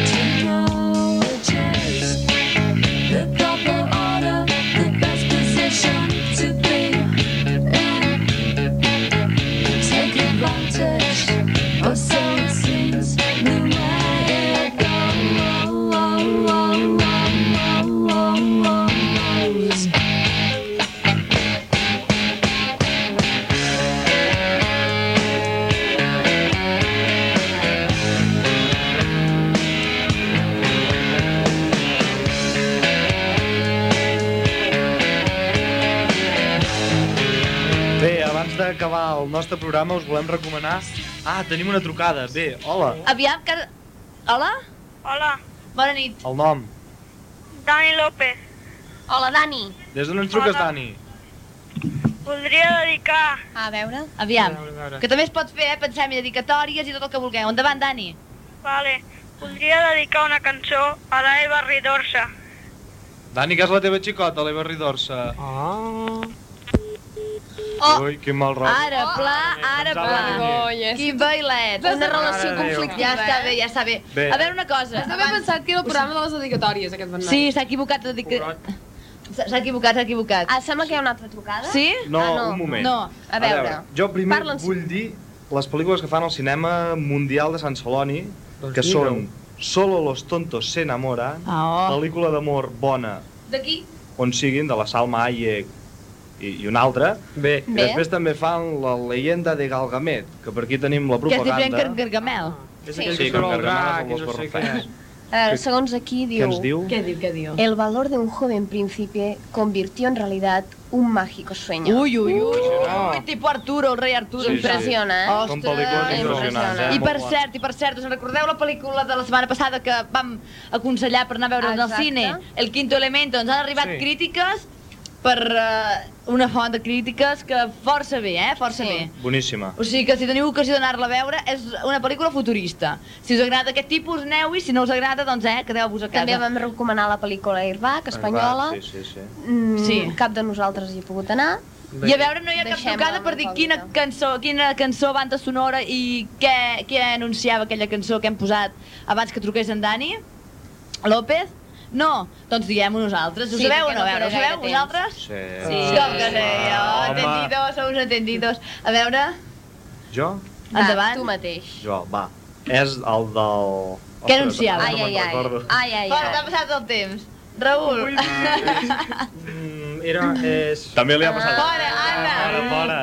[SPEAKER 14] to know which is the proper order, the best position to be in. Take advantage. Oh, so it seems the way it goes.
[SPEAKER 4] Bé, abans d'acabar el nostre programa us volem recomanar... Ah, tenim una trucada. Bé, hola.
[SPEAKER 5] Aviam, que... Hola?
[SPEAKER 10] Hola,
[SPEAKER 5] Bona nit.
[SPEAKER 4] El nom.
[SPEAKER 10] Dani López.
[SPEAKER 1] Hola, Dani.
[SPEAKER 4] Des d'on ens truques,
[SPEAKER 10] Hola.
[SPEAKER 4] Dani?
[SPEAKER 10] Voldria dedicar...
[SPEAKER 5] A veure. Aviam, que també es pot fer, eh? Pensem i dedicatòries i tot el que vulgueu. Endavant, Dani.
[SPEAKER 10] Vale. Voldria dedicar una cançó a la Eva Ridorsa.
[SPEAKER 4] Dani, que és la teva xicota, l'Eva Ridorsa. Ah.
[SPEAKER 5] Oh.
[SPEAKER 4] Ui, quin mal rotllo.
[SPEAKER 5] Ara pla, ara
[SPEAKER 2] Ah,
[SPEAKER 4] pensava
[SPEAKER 5] pla.
[SPEAKER 4] que
[SPEAKER 5] Vergonya. Quin bailet.
[SPEAKER 26] Una relació
[SPEAKER 4] Mare de Déu.
[SPEAKER 5] Ja està bé, ja està bé.
[SPEAKER 4] Bé.
[SPEAKER 5] A veure una cosa.
[SPEAKER 26] Has d'haver pensat que era el programa de les dedicatòries, aquest Bernat.
[SPEAKER 5] Sí, s'ha equivocat. de dedica- S'ha s'ha equivocat, s'ha equivocat.
[SPEAKER 1] Ah, sembla que hi ha una altra trucada.
[SPEAKER 5] Sí?
[SPEAKER 4] No, un moment.
[SPEAKER 5] Ah, No, a veure.
[SPEAKER 4] jo primer
[SPEAKER 5] Parla'ns.
[SPEAKER 4] vull dir les pel·lícules que fan al cinema mundial de Sant Celoni, que
[SPEAKER 15] Doncs mira-ho.
[SPEAKER 4] són Solo los tontos se enamoran,
[SPEAKER 5] Ah, oh.
[SPEAKER 4] pel·lícula d'amor bona
[SPEAKER 5] D'aquí?
[SPEAKER 4] on siguin, de la Salma Hayek i, i una altra.
[SPEAKER 15] Bé.
[SPEAKER 4] I
[SPEAKER 5] Bé.
[SPEAKER 4] després també fan la leyenda de Galgamet, que per aquí tenim la
[SPEAKER 5] Que és diferent
[SPEAKER 4] propaganda.
[SPEAKER 5] que en Gargamel.
[SPEAKER 4] aquell que surt el drac i no sé què.
[SPEAKER 1] A veure,
[SPEAKER 4] Què-
[SPEAKER 1] Eh, segons aquí diu...
[SPEAKER 4] què ens diu? Què
[SPEAKER 5] diu, què
[SPEAKER 4] Eh,
[SPEAKER 5] diu?
[SPEAKER 1] El valor de un joven príncipe convirtió en realidad un mágico sueño.
[SPEAKER 5] Ui, ui, ui. Ui, tipo Arturo, el rei Arturo.
[SPEAKER 1] Sí, sí. Impressiona, eh?
[SPEAKER 4] Són pel·lícules impressionants, eh?
[SPEAKER 5] I per
[SPEAKER 4] Molt guapes.
[SPEAKER 5] cert, i per cert, us en recordeu la pel·lícula de la setmana passada que vam aconsellar per anar a veure al
[SPEAKER 1] Exacte.
[SPEAKER 5] cine? El Quinto Elemento. Ens han arribat
[SPEAKER 1] Sí.
[SPEAKER 5] crítiques per eh, una font de crítiques que força bé, eh? Força bé.
[SPEAKER 4] Boníssima.
[SPEAKER 5] O sigui que si teniu ocasió d'anar-la a veure, és una pel·lícula futurista. Si us agrada aquest tipus, aneu-hi. Si no us agrada, doncs, eh, quedeu-vos a casa.
[SPEAKER 1] També vam recomanar la pel·lícula Airbag, espanyola.
[SPEAKER 4] Sí, sí, sí.
[SPEAKER 1] Mm,
[SPEAKER 5] Sí.
[SPEAKER 1] Cap de nosaltres hi ha pogut anar.
[SPEAKER 5] I a veure, no hi ha cap
[SPEAKER 1] Deixem-la
[SPEAKER 5] trucada per dir quina cançó, quina cançó, banda sonora i què, què anunciava aquella cançó que hem posat abans que truqués en Dani López. No, doncs diguem-ho nosaltres. Ho
[SPEAKER 27] Sí,
[SPEAKER 5] sabeu o
[SPEAKER 27] perquè
[SPEAKER 5] no?
[SPEAKER 27] no
[SPEAKER 5] A veure, ho
[SPEAKER 27] queda
[SPEAKER 5] sabeu
[SPEAKER 27] gaire temps.
[SPEAKER 5] vosaltres?
[SPEAKER 4] Sí.
[SPEAKER 5] Com que no, jo,
[SPEAKER 4] Home.
[SPEAKER 5] atendidos, sou uns atendidos. A veure,
[SPEAKER 4] Jo?
[SPEAKER 5] endavant.
[SPEAKER 10] tu mateix.
[SPEAKER 4] Jo, va. És el del...
[SPEAKER 5] Què
[SPEAKER 4] Ostres,
[SPEAKER 5] anunciava?
[SPEAKER 4] no me'n recordo.
[SPEAKER 5] ai, ai. Bueno, t'ha passat el temps. Raül.
[SPEAKER 4] Mm,
[SPEAKER 15] Era, és...
[SPEAKER 4] També li ha passat.
[SPEAKER 5] Fora, Anna!
[SPEAKER 4] Fora, Ah, fora.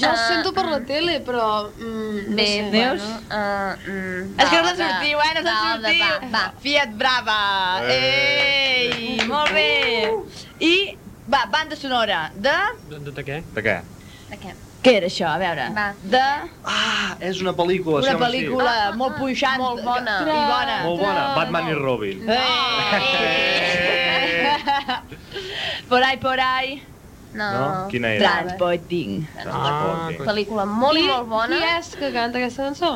[SPEAKER 1] Jo
[SPEAKER 4] ah,
[SPEAKER 1] ho sento per la tele, però... Mm,
[SPEAKER 5] Bé,
[SPEAKER 1] no sé,
[SPEAKER 5] Neus?
[SPEAKER 1] Bueno.
[SPEAKER 10] eh, mm,
[SPEAKER 5] És que no se'n
[SPEAKER 1] va,
[SPEAKER 5] sortiu,
[SPEAKER 1] va.
[SPEAKER 5] eh? No se'n
[SPEAKER 1] Va, va,
[SPEAKER 5] sortiu. Va, Uh. Fiat Brava. Ei, molt bé. I, va, banda sonora de...
[SPEAKER 15] De, de, de doncs què?
[SPEAKER 4] De què?
[SPEAKER 5] Què era això? A veure.
[SPEAKER 10] Va.
[SPEAKER 5] De
[SPEAKER 4] Ah, és una pel·lícula,
[SPEAKER 5] una
[SPEAKER 4] sí, home, sí.
[SPEAKER 5] pel·lícula molt punxant. Ah, Molt bona. I bona. Eh.
[SPEAKER 4] Molt bona, Batman i Robin.
[SPEAKER 5] Por ahí, por ahí.
[SPEAKER 4] No? Quina era?
[SPEAKER 5] Transporting.
[SPEAKER 4] Ah,
[SPEAKER 10] Pel·lícula molt i, molt bona.
[SPEAKER 1] Qui és que canta aquesta cançó?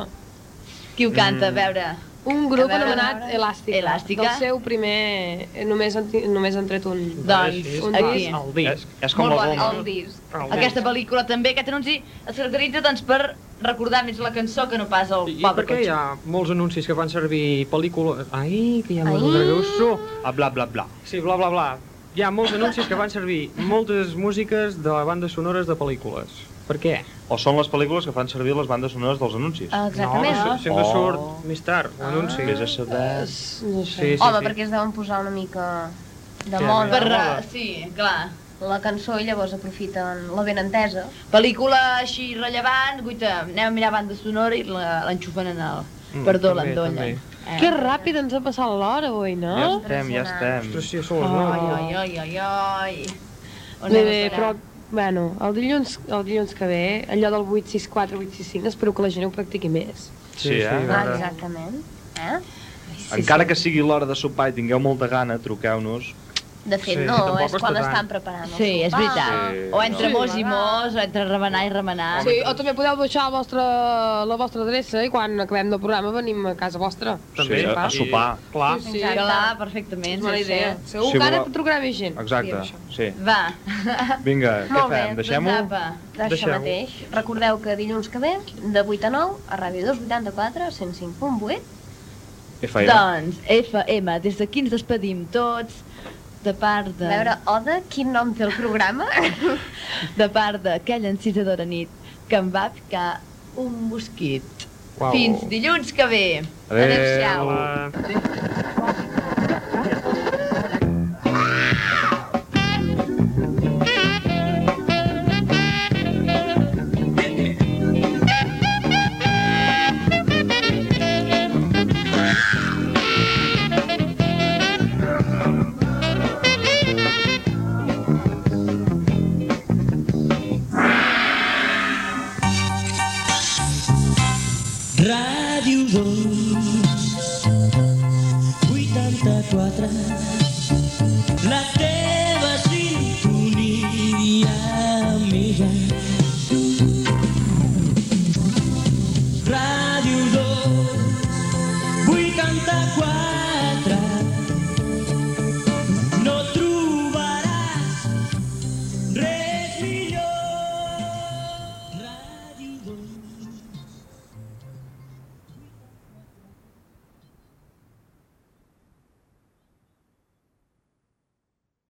[SPEAKER 5] Qui ho canta? A
[SPEAKER 1] Mm.
[SPEAKER 5] veure.
[SPEAKER 1] Un grup
[SPEAKER 5] A veure, a
[SPEAKER 1] anomenat
[SPEAKER 5] veure.
[SPEAKER 1] Elàstica.
[SPEAKER 5] Elàstica.
[SPEAKER 1] Del seu primer... eh, Només, han, ti- només han tret un...
[SPEAKER 5] Doncs,
[SPEAKER 1] un
[SPEAKER 5] aquí.
[SPEAKER 1] disc.
[SPEAKER 4] És, és com
[SPEAKER 5] Molt
[SPEAKER 4] la
[SPEAKER 5] bona,
[SPEAKER 4] bomba.
[SPEAKER 5] el disc.
[SPEAKER 1] El
[SPEAKER 5] Aquesta pel·lícula també, aquest anunci, es caracteritza doncs, per recordar més la cançó que no pas el
[SPEAKER 15] I per
[SPEAKER 5] pobre
[SPEAKER 15] què hi
[SPEAKER 5] cotxe.
[SPEAKER 15] ha molts anuncis que fan servir pel·lícula... Ai, que hi ha molt de greusso.
[SPEAKER 4] Ah, bla, bla, bla.
[SPEAKER 15] Sí, bla, bla, bla. Hi ha molts anuncis que fan servir moltes músiques de bandes sonores de pel·lícules. Per què?
[SPEAKER 4] O són les pel·lícules que fan servir les bandes sonores dels anuncis.
[SPEAKER 5] Ah.
[SPEAKER 10] Exactament.
[SPEAKER 15] No,
[SPEAKER 10] No,
[SPEAKER 15] se- sempre
[SPEAKER 4] Oh.
[SPEAKER 15] surt més tard, l'anunci.
[SPEAKER 4] Vés a saber...
[SPEAKER 1] No
[SPEAKER 15] sé. Sí, sí,
[SPEAKER 10] Home,
[SPEAKER 15] sí.
[SPEAKER 10] perquè es deuen posar una mica de
[SPEAKER 15] Sí,
[SPEAKER 10] moda.
[SPEAKER 5] Per, eh, sí, clar.
[SPEAKER 10] La cançó i llavors aprofiten la ben entesa.
[SPEAKER 5] Pel·lícula així rellevant, guita, anem a mirar banda sonora i la- l'enxufen en el...
[SPEAKER 1] Mm,
[SPEAKER 5] Perdó, Eh.
[SPEAKER 15] també,
[SPEAKER 5] l'endollen.
[SPEAKER 1] Que ràpid ens ha passat l'hora, oi,
[SPEAKER 5] Ah,
[SPEAKER 1] no?
[SPEAKER 4] Ja estem, ja estem.
[SPEAKER 15] Ostres, sí, són
[SPEAKER 1] Ai, ai,
[SPEAKER 15] les noves.
[SPEAKER 5] Ai, ai, ai, ai. On
[SPEAKER 1] Bé,
[SPEAKER 5] anem a
[SPEAKER 1] bé,
[SPEAKER 5] parar?
[SPEAKER 1] però, bueno, el dilluns, el dilluns que ve, allò del 864, 865, espero que la gent ho practiqui més.
[SPEAKER 4] Sí, eh?
[SPEAKER 10] Ah, exactament. Eh?
[SPEAKER 4] Encara que sigui l'hora de sopar i tingueu molta gana, truqueu-nos.
[SPEAKER 10] De fet,
[SPEAKER 4] Sí,
[SPEAKER 10] no,
[SPEAKER 4] tampoc
[SPEAKER 10] és
[SPEAKER 4] està
[SPEAKER 10] quan
[SPEAKER 4] tant.
[SPEAKER 10] estan preparant el
[SPEAKER 5] Sí, és
[SPEAKER 10] sopar.
[SPEAKER 5] veritat.
[SPEAKER 4] Sí,
[SPEAKER 5] o entre
[SPEAKER 4] no.
[SPEAKER 5] mos i mos, o entre remenar i remenar.
[SPEAKER 1] Sí, o també podeu deixar la vostra, la vostra adreça i quan acabem el programa venim a casa vostra.
[SPEAKER 4] També, sí, a, a
[SPEAKER 15] clar.
[SPEAKER 4] sopar.
[SPEAKER 15] Clar.
[SPEAKER 1] Sí, sí.
[SPEAKER 5] Clar, perfectament.
[SPEAKER 1] És bona
[SPEAKER 5] sí, sí.
[SPEAKER 1] idea. Segur
[SPEAKER 4] Sí,
[SPEAKER 1] que ara
[SPEAKER 4] voleu-
[SPEAKER 1] trucarà més gent.
[SPEAKER 4] Exacte, sí.
[SPEAKER 5] Va.
[SPEAKER 4] Vinga, què
[SPEAKER 10] Molt bé,
[SPEAKER 4] fem? Deixem-ho?
[SPEAKER 10] doncs apa, Això
[SPEAKER 4] Deixem-ho.
[SPEAKER 10] mateix. Recordeu que dilluns que ve, de 8 a 9, a Ràdio 284, 105.8,
[SPEAKER 5] Doncs, FM, des d'aquí ens despedim tots, de part de...
[SPEAKER 10] a veure, Oda, quin nom té el programa?
[SPEAKER 5] De part d'aquella encisadora nit que em va picar un mosquit.
[SPEAKER 14] Uau.
[SPEAKER 5] Fins dilluns que ve.
[SPEAKER 14] Adéu.
[SPEAKER 15] Eh,
[SPEAKER 14] Ràdio 2 84 La teva sintonia amiga Ràdio 2